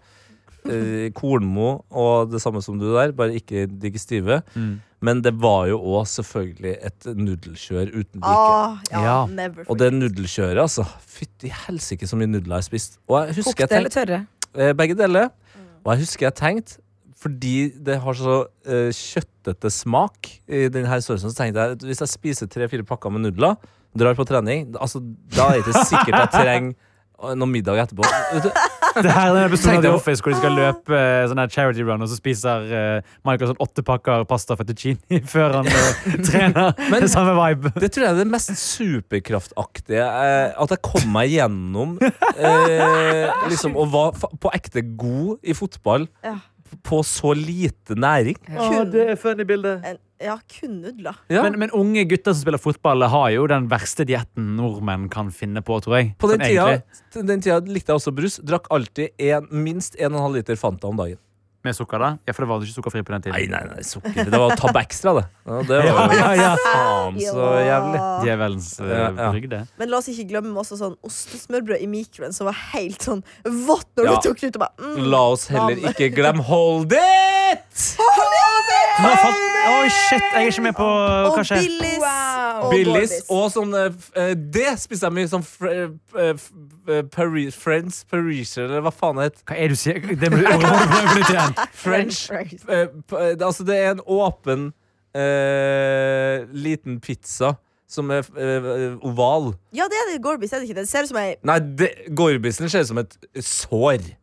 [SPEAKER 5] Eh, Kornmo og det samme som du der, bare ikke digestive.
[SPEAKER 4] Mm.
[SPEAKER 5] Men det var jo òg selvfølgelig et nudelkjør uten
[SPEAKER 2] Åh,
[SPEAKER 5] like.
[SPEAKER 2] Ah, ja,
[SPEAKER 4] Ja.
[SPEAKER 2] Never
[SPEAKER 5] Og det nudelkjøret, altså. Fytti helsike så mye nudler jeg har spist. Og jeg
[SPEAKER 3] Kokte
[SPEAKER 5] husker jeg tenkte
[SPEAKER 3] eller tørre?
[SPEAKER 5] Eh, Begge deler. Og jeg husker jeg tenkte fordi det har så eh, kjøttete smak i denne sausen, så tenkte jeg at hvis jeg spiser tre-fire pakker med nudler, drar på trening, da- altså, da er det ikke sikkert jeg trenger eh, noe middag etterpå. Vet du,
[SPEAKER 4] Det her er den episoden av
[SPEAKER 5] Tenkte
[SPEAKER 4] The
[SPEAKER 5] jeg-
[SPEAKER 4] Office hvor de skal løpe eh, sånn her charity run, og så spiser eh, Michael sånn åtte pakker pasta fettuccini (laughs) før han eh, trener.
[SPEAKER 5] Men-
[SPEAKER 4] det er samme vibe.
[SPEAKER 5] Det tror jeg er det mest superkraftaktige. Eh, at jeg kom meg gjennom eh, liksom, og var fa- på ekte god i fotball
[SPEAKER 2] Ja.
[SPEAKER 5] på så lite næring.
[SPEAKER 2] Kun- det
[SPEAKER 4] er funny bilde.
[SPEAKER 2] En, ja, kun nudler.
[SPEAKER 5] Ja.
[SPEAKER 4] Men, men unge gutter som spiller fotball, har jo den verste dietten nordmenn kan finne på, tror jeg.
[SPEAKER 5] På den
[SPEAKER 4] Sånn
[SPEAKER 5] tida,
[SPEAKER 4] egentlig,
[SPEAKER 5] den tida likte jeg også brus. Drakk alltid en, minst 1,5 liter Fanta om dagen.
[SPEAKER 4] Med sukker, da? Ja, for det var jo ikke sukkerfri på den
[SPEAKER 5] Nei,
[SPEAKER 4] tiden.
[SPEAKER 5] nei, nei, sukker. Det var Tab Extra, det. Ja, det
[SPEAKER 4] Ja,
[SPEAKER 5] var jo
[SPEAKER 4] ja, ja.
[SPEAKER 5] faen så jævlig.
[SPEAKER 4] Djevelens eh,
[SPEAKER 5] Ja, ja.
[SPEAKER 4] brygde.
[SPEAKER 2] Men la oss ikke glemme også sånn ostesmørbrød i mikroen som var helt sånn vått når
[SPEAKER 5] Ja.
[SPEAKER 2] du tok det ut. og bare mm.
[SPEAKER 5] La oss heller ikke glemme Hold it!
[SPEAKER 4] Nå falt- Oi, shit! Jeg er ikke med på
[SPEAKER 2] Og
[SPEAKER 4] hva skjer.
[SPEAKER 2] Billis.
[SPEAKER 3] Wow.
[SPEAKER 2] Og
[SPEAKER 5] Billis
[SPEAKER 2] Wallis.
[SPEAKER 5] og sånn eh, f- eh, Det spiste jeg mye. Sånn fr- eh, f- eh, Pari- Friends Parisian, eller hva faen det het.
[SPEAKER 4] Hva er det du sier? Det må du (laughs) må du prøve på nytt igjen.
[SPEAKER 5] French eh, p- eh, Altså, det er en åpen eh, liten pizza som er eh, oval.
[SPEAKER 2] Ja, det er det Gorbis. Er det ikke det? Det ser ut som ei-
[SPEAKER 5] Nei, det- gorbisen ser ut som et sår.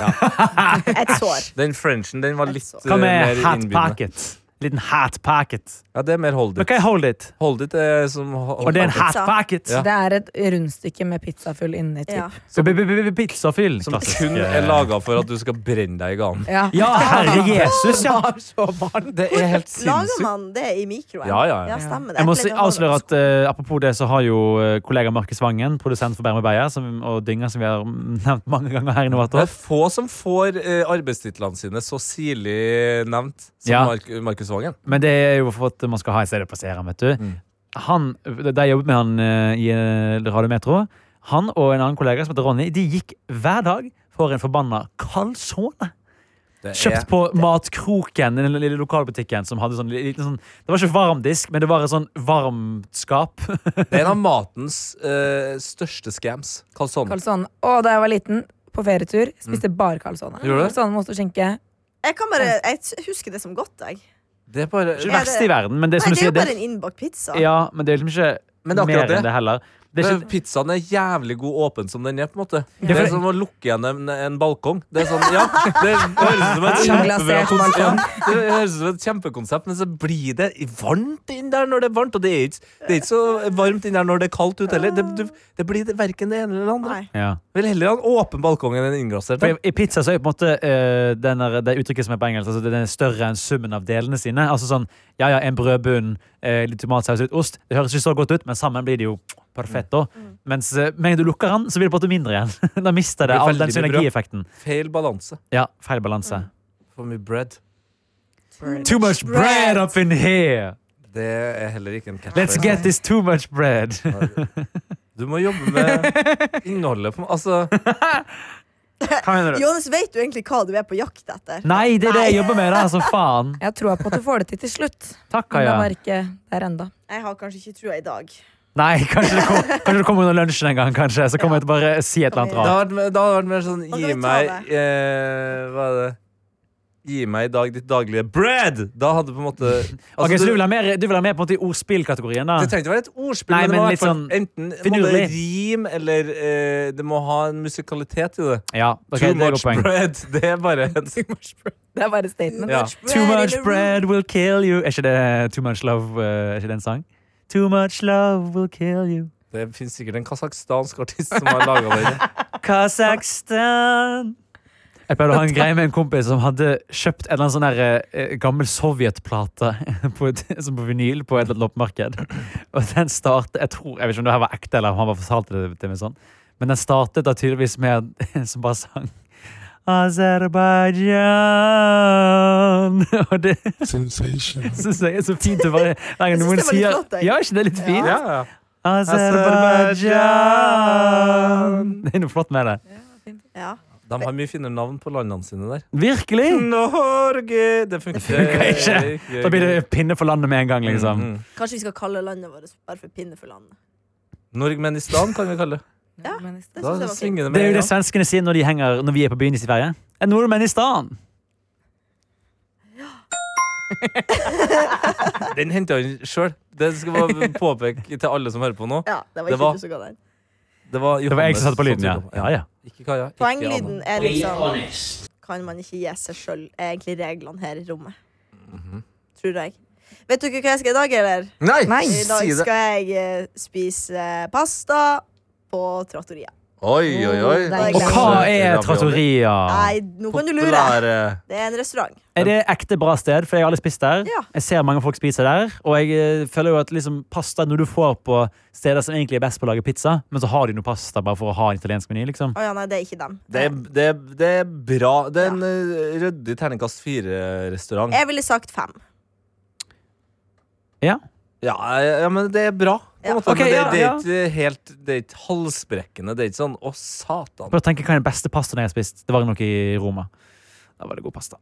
[SPEAKER 2] et sår.
[SPEAKER 5] Den frenchen den var litt
[SPEAKER 4] Hva
[SPEAKER 5] eh,
[SPEAKER 4] med
[SPEAKER 5] mer
[SPEAKER 4] hat
[SPEAKER 5] innbydende.
[SPEAKER 4] packet? Liten hat packet.
[SPEAKER 5] Ja, det er mer hold
[SPEAKER 4] Men
[SPEAKER 5] it.
[SPEAKER 4] hva er hold it?
[SPEAKER 5] Hold it er som
[SPEAKER 4] Og det er en hat
[SPEAKER 2] Pizza.
[SPEAKER 4] packet.
[SPEAKER 5] Ja.
[SPEAKER 3] Det er et rundstykke med pizzafull inni. Typ.
[SPEAKER 2] Ja.
[SPEAKER 3] Ja.
[SPEAKER 4] Så b- b- b- Pizzafyll.
[SPEAKER 5] som
[SPEAKER 4] Klassisk.
[SPEAKER 5] kun er laga for at du skal brenne deg i ganen.
[SPEAKER 4] Ja, herre Jesus, ja.
[SPEAKER 5] (laughs) Det er helt
[SPEAKER 2] Lager
[SPEAKER 5] sinnssykt.
[SPEAKER 2] man det i mikroen?
[SPEAKER 5] Ja, ja, ja.
[SPEAKER 2] stemmer det.
[SPEAKER 4] Jeg må
[SPEAKER 2] pleier
[SPEAKER 4] si-
[SPEAKER 2] å ha det.
[SPEAKER 4] avsløre at eh, apropos det, så har jo eh, kollega Markus Vangen, produsent for Bærum og Beyer, som- og Dynga, som vi har (laughs) nevnt mange ganger her i
[SPEAKER 5] Det er
[SPEAKER 4] Novator.
[SPEAKER 5] få som får eh, arbeidstitlene sine så sirlig nevnt som
[SPEAKER 4] Ja.
[SPEAKER 5] Mark Markus Vangen.
[SPEAKER 4] Men det er jo for at man skal ha et sted å plassere, vet du. Han, da jeg jobbet med han eh, i eh, Radio Metro, han og en annen kollega som heter Ronny, de gikk hver dag for en forbanna calzone.
[SPEAKER 5] Det er,
[SPEAKER 4] Kjøpt på Matkroken, den lille lokalbutikken som hadde sånn liten sånn Det var ikke varmdisk, men det var et sånn varmt skap.
[SPEAKER 5] det er en av matens eh, største scams. Calzone.
[SPEAKER 3] Calzone. Og da jeg var liten, på ferietur, spiste bare calzone.
[SPEAKER 5] Mm. Gjorde du det?
[SPEAKER 3] Calzone med ost og skinke.
[SPEAKER 2] Jeg, kan bare, jeg husker det som godt, jeg.
[SPEAKER 5] Det er bare
[SPEAKER 2] Ja,
[SPEAKER 4] Ikke det
[SPEAKER 2] det-
[SPEAKER 4] verste i verden, men det,
[SPEAKER 2] Nei,
[SPEAKER 4] er som
[SPEAKER 2] det
[SPEAKER 4] du
[SPEAKER 2] er
[SPEAKER 4] sier,
[SPEAKER 2] jo bare en innbakt pizza.
[SPEAKER 4] ja, men det er liksom ikke
[SPEAKER 5] Men det er
[SPEAKER 4] mer
[SPEAKER 5] akkurat det.
[SPEAKER 4] enn det heller. Det er
[SPEAKER 5] Men
[SPEAKER 4] ikke,
[SPEAKER 5] Pizzaen er jævlig god åpen som den er. på en måte
[SPEAKER 4] Ja,
[SPEAKER 5] Det
[SPEAKER 4] for
[SPEAKER 5] er
[SPEAKER 4] det-
[SPEAKER 5] som å lukke igjen en, en balkong. Det er sånn, ja, det høres ut som et kjempebra
[SPEAKER 3] Inglasert
[SPEAKER 5] konsept, ja, Det høres ut som et kjempekonsept, men så blir det varmt inn der når det er varmt. Og det er ikke, det er ikke så varmt inn der når det er kaldt ute heller. Det, du- det blir det, verken det ene eller det andre.
[SPEAKER 2] Nei.
[SPEAKER 4] ja.
[SPEAKER 5] Vil heller ha en åpen balkong enn en inngrassert.
[SPEAKER 4] For i, I pizza så er jo på en måte eh, den der, det uttrykket som er på engelsk, altså den er større enn summen av delene sine. Altså sånn, ja ja, en brødbunn, eh, litt tomatsaus, litt ost. Det høres ikke så godt ut, men sammen blir det jo perfetto. Mens eh, med en gang du lukker den, så blir det på en måte mindre igjen. (laughs) da mister det
[SPEAKER 5] Det blir
[SPEAKER 4] all den
[SPEAKER 5] veldig mye brød.
[SPEAKER 4] synergieffekten.
[SPEAKER 5] Feil balanse.
[SPEAKER 4] Ja, feil balanse.
[SPEAKER 5] For mye bread.
[SPEAKER 4] Too much bread up in here!
[SPEAKER 5] Det er heller ikke en catchphrase.
[SPEAKER 4] Let's get this too much (laughs) bread.
[SPEAKER 5] Du må jobbe
[SPEAKER 4] (laughs)
[SPEAKER 5] med innholdet. På, altså,
[SPEAKER 4] Hva mener du?
[SPEAKER 2] Johannes, vet du egentlig hva du er på jakt etter?
[SPEAKER 4] Nei, det er det jeg jobber med, da, som faen.
[SPEAKER 3] Jeg har troa på at du får det til til slutt.
[SPEAKER 4] (laughs) Takk,
[SPEAKER 3] Men det
[SPEAKER 4] Kaja.
[SPEAKER 3] var ikke der enda.
[SPEAKER 2] Jeg har kanskje ikke trua i dag.
[SPEAKER 4] Nei, kanskje det kom- kanskje det kommer under lunsjen en gang, kanskje. Så kommer jeg til å bare si et eller annet
[SPEAKER 5] Det
[SPEAKER 4] rart.
[SPEAKER 5] hadde vært, det hadde vært mer sånn
[SPEAKER 2] kan
[SPEAKER 5] Gi
[SPEAKER 2] vi ta
[SPEAKER 5] meg eh, Hva er det? Gi meg i dag ditt daglige bread! Da hadde på
[SPEAKER 4] (laughs)
[SPEAKER 5] en måte
[SPEAKER 4] Ok,
[SPEAKER 5] altså,
[SPEAKER 4] så du
[SPEAKER 5] du-
[SPEAKER 4] vil ha mer, du vil ha mer på en måte i ordspillkategorien? da?
[SPEAKER 5] Det trenger ikke være et ordspill,
[SPEAKER 4] Nei,
[SPEAKER 5] men,
[SPEAKER 4] men
[SPEAKER 5] det må i
[SPEAKER 4] litt
[SPEAKER 5] hvert fall
[SPEAKER 4] sånn
[SPEAKER 5] enten det må det
[SPEAKER 4] finurlig.
[SPEAKER 5] rim, eller eh, det må ha en musikalitet i det.
[SPEAKER 4] Ja, ok, det
[SPEAKER 5] Too
[SPEAKER 4] går
[SPEAKER 5] much
[SPEAKER 4] poeng.
[SPEAKER 5] bread. (laughs) Det er bare en
[SPEAKER 3] Det er bare statement.
[SPEAKER 5] Ja.
[SPEAKER 4] Too
[SPEAKER 2] in
[SPEAKER 4] much
[SPEAKER 2] the room.
[SPEAKER 4] bread will kill you. Er ikke det Too much love? eh, Er ikke det en sang? Too much love will kill you.
[SPEAKER 5] Det finnes sikkert en kasakhstansk artist som har laga den.
[SPEAKER 2] (laughs)
[SPEAKER 4] Kasakhstan Jeg pleide å ha en greie med en kompis som hadde kjøpt en eller annen sånn her, eh, gammel sovjetplate (laughs) på, et- som på vinyl på et eller annet loppemarked. (clears throat) Og den startet Jeg tror, jeg vet ikke om det her var ekte, eller om han bare fortalte det til meg sånn. Men den startet da tydeligvis med en (laughs) som bare sang Aserbajdsjan. (laughs) Og det (laughs) syns jeg er så fint å bare Hver gang
[SPEAKER 2] Jeg synes det
[SPEAKER 4] noen
[SPEAKER 2] var litt
[SPEAKER 4] sier
[SPEAKER 2] flott, jeg.
[SPEAKER 4] Ja, er ikke det litt fint?
[SPEAKER 5] Ja, ja.
[SPEAKER 4] Aserbajdsjan. Det er noe flott med det.
[SPEAKER 2] Ja.
[SPEAKER 5] De har mye finere navn på landene sine der.
[SPEAKER 4] Virkelig!
[SPEAKER 5] Mm. Norge! Det funker,
[SPEAKER 4] Mm. ikke. Da blir det pinne for landet med en gang, liksom.
[SPEAKER 5] Mm, mm.
[SPEAKER 2] Kanskje vi skal kalle landet vårt bare for pinne for landet.
[SPEAKER 5] Norgmenistan kan vi kalle det.
[SPEAKER 2] Ja.
[SPEAKER 3] Men det-
[SPEAKER 2] Det
[SPEAKER 5] Da
[SPEAKER 2] synes jeg var fint.
[SPEAKER 5] svinger det
[SPEAKER 4] Det er
[SPEAKER 5] med
[SPEAKER 4] jo det
[SPEAKER 5] en gang.
[SPEAKER 4] svenskene sier når, de henger, når vi er på byen i Sverige. En nordmenn i stan.
[SPEAKER 5] Den henta han sjøl. Det skal (laughs) bare påpeke til alle som hører på nå.
[SPEAKER 2] Ja, det var
[SPEAKER 5] Det
[SPEAKER 2] ikke
[SPEAKER 5] var-
[SPEAKER 2] du som ga den.
[SPEAKER 5] Det
[SPEAKER 4] Det var
[SPEAKER 5] var,
[SPEAKER 4] jeg
[SPEAKER 5] Johannes
[SPEAKER 4] som satte på lyden, ja.
[SPEAKER 5] tok opp.
[SPEAKER 4] ja, ja.
[SPEAKER 5] Ikke Kaja. ikke
[SPEAKER 2] Poenglyden
[SPEAKER 5] Anna.
[SPEAKER 2] er liksom Kan man ikke gi seg sjøl, er egentlig reglene her i rommet. Tror jeg. Vet dere hva jeg skal i dag, eller?
[SPEAKER 5] Nei!
[SPEAKER 3] Nei.
[SPEAKER 2] I dag
[SPEAKER 5] Si det.
[SPEAKER 2] skal jeg eh, spise eh, pasta på trattoria.
[SPEAKER 5] Oi, oi, oi.
[SPEAKER 3] Nei.
[SPEAKER 4] Og hva er trattoria?
[SPEAKER 2] Nei, nå kan du lure.
[SPEAKER 5] Populære.
[SPEAKER 2] Det er en restaurant.
[SPEAKER 4] Er det ekte bra sted? For jeg har aldri spist der.
[SPEAKER 2] Ja.
[SPEAKER 4] Jeg ser mange folk spise der. Og jeg eh, føler jo at liksom pasta når du får på steder som egentlig er best på å lage pizza, men så har de noe pasta bare for å ha en italiensk meny, liksom.
[SPEAKER 2] Å ja, nei, det er ikke dem.
[SPEAKER 5] Det er, det, er, det er bra. Det er en eh, ryddig terningkast fire-restaurant.
[SPEAKER 2] Jeg ville sagt fem.
[SPEAKER 4] Ja.
[SPEAKER 5] Ja, eh, ja, men det er bra. På
[SPEAKER 2] Ja.
[SPEAKER 5] en måte.
[SPEAKER 4] Ok,
[SPEAKER 5] men det,
[SPEAKER 4] ja,
[SPEAKER 5] det,
[SPEAKER 4] ja.
[SPEAKER 5] er ikke helt, det er ikke halsbrekkende. Det er ikke sånn 'Å, satan'.
[SPEAKER 4] Bare tenke hva er den beste pastaen jeg har spist. Det var nok i Roma. Da var det god pasta.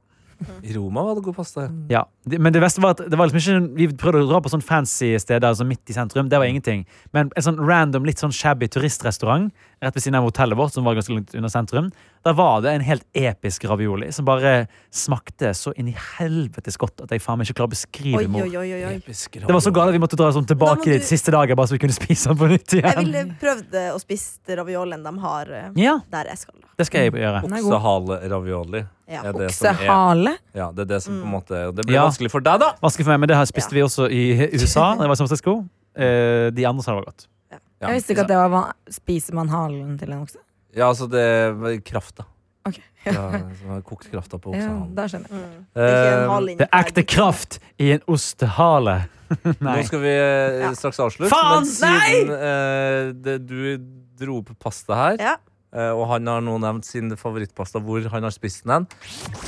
[SPEAKER 5] I Roma var det god pasta.
[SPEAKER 4] Ja, det- Men det beste var at det var liksom ikke, vi prøvde å dra på sånn fancy steder altså midt i sentrum. Det var ingenting. Men en sånn random, litt sånn shabby turistrestaurant rett ved siden av hotellet vårt, som var ganske langt under sentrum, der var det en helt episk ravioli som bare smakte så inn i helvetes godt at jeg faen meg ikke klarer å beskrive
[SPEAKER 2] Oi,
[SPEAKER 4] det. mor.
[SPEAKER 2] oi, oi, oi, oi.
[SPEAKER 5] Det
[SPEAKER 4] Det var så galt at vi måtte dra sånn tilbake
[SPEAKER 2] må
[SPEAKER 4] dit
[SPEAKER 2] du-
[SPEAKER 4] siste dagen bare så vi kunne spise den på nytt
[SPEAKER 2] Jeg
[SPEAKER 4] igjen.
[SPEAKER 2] ville prøvd eh, å spise raviolien de har eh,
[SPEAKER 4] Ja,
[SPEAKER 2] der jeg skal. da.
[SPEAKER 4] det skal jeg gjøre.
[SPEAKER 3] Den er god.
[SPEAKER 5] Oksehale-ravioli.
[SPEAKER 2] Ja.
[SPEAKER 5] er det som er-
[SPEAKER 3] Oksehale.
[SPEAKER 5] Ja, det er det som på en måte Det blir
[SPEAKER 4] Ja.
[SPEAKER 5] vanskelig for deg, da!
[SPEAKER 4] Vanskelig for meg, men det her spiste vi også
[SPEAKER 2] (laughs)
[SPEAKER 4] i USA. når jeg var i San Francisco. Eh, De andre sa det var godt.
[SPEAKER 5] Ja,
[SPEAKER 3] Jeg visste ikke at det var hva- Spiser man halen til en okse?
[SPEAKER 5] Ja, altså, det er krafta.
[SPEAKER 3] Ok.
[SPEAKER 5] Ja, som har kokt krafta på
[SPEAKER 3] Ja,
[SPEAKER 5] oksehalen.
[SPEAKER 3] da skjønner jeg.
[SPEAKER 2] Mm. Det er ikke en
[SPEAKER 5] Eh,
[SPEAKER 2] hal inni
[SPEAKER 4] Det er ekte
[SPEAKER 2] der.
[SPEAKER 4] kraft i en ostehale. Nei.
[SPEAKER 5] Nå skal vi eh,
[SPEAKER 2] Ja.
[SPEAKER 5] straks avslutte,
[SPEAKER 4] Faen,
[SPEAKER 5] men siden eh, det, du dro opp pasta her,
[SPEAKER 2] Ja.
[SPEAKER 5] eh, og han har nå nevnt sin favorittpasta hvor han har spist den,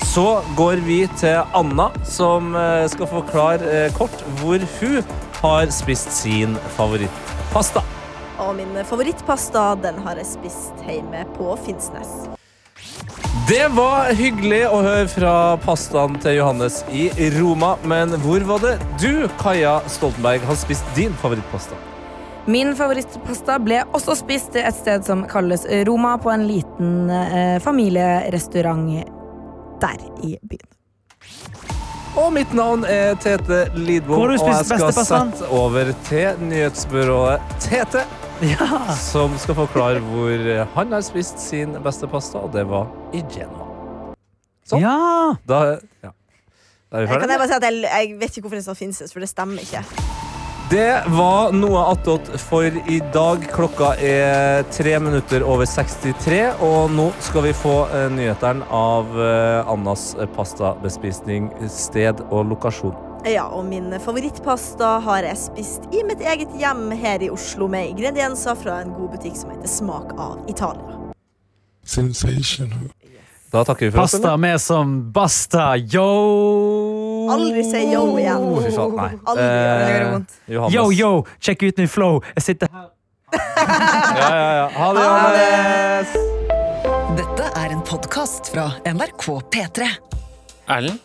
[SPEAKER 5] så går vi til Anna, som eh, skal forklare eh, kort hvor hun har spist sin favorittpasta.
[SPEAKER 2] Og min eh, favorittpasta den har jeg spist hjemme på Finnsnes.
[SPEAKER 5] Det var hyggelig å høre fra pastaen til Johannes i Roma, men hvor var det du, Kaja Stoltenberg, har spist din favorittpasta?
[SPEAKER 3] Min favorittpasta ble også spist et sted som kalles Roma, på en liten eh, familierestaurant der i byen.
[SPEAKER 5] Og mitt navn er Tete Lidbom,
[SPEAKER 4] Hvor har
[SPEAKER 5] og
[SPEAKER 4] du
[SPEAKER 5] jeg
[SPEAKER 4] spist
[SPEAKER 5] skal
[SPEAKER 4] beste pastaen?
[SPEAKER 5] sette over til nyhetsbyrået Tete,
[SPEAKER 4] Ja.
[SPEAKER 5] som skal forklare hvor han har spist sin beste pasta, og det var i Genova. Sånn.
[SPEAKER 4] ja!
[SPEAKER 5] Da, ja. da er vi
[SPEAKER 2] Eh, Kan jeg
[SPEAKER 5] ferdige.
[SPEAKER 2] bare si at jeg, jeg vet ikke hvorfor jeg sa Finnsnes, for det stemmer ikke.
[SPEAKER 5] Det var noe attåt for i dag. Klokka er tre minutter over 63, og nå skal vi få eh, nyhetene av eh, Annas pastabespisning, sted og lokasjon.
[SPEAKER 2] Ja, og min favorittpasta har jeg spist i mitt eget hjem her i Oslo med ingredienser fra en god butikk som heter Smak av Italia.
[SPEAKER 5] Da takker vi for oss.
[SPEAKER 4] Pasta med som basta, yo!
[SPEAKER 2] Aldri si yo igjen.
[SPEAKER 5] Å, fy faen, nei.
[SPEAKER 2] Aldri gjør det.
[SPEAKER 5] Eh,
[SPEAKER 3] Det gjør vondt.
[SPEAKER 5] Johannes.
[SPEAKER 4] Yo, yo! Sjekk ut min flow. Jeg sitter her.
[SPEAKER 5] Ja, ja, ja. Ha det,
[SPEAKER 2] Ha det.
[SPEAKER 5] Johannes!
[SPEAKER 6] Dette er en podkast fra NRK P3.
[SPEAKER 7] Erlend,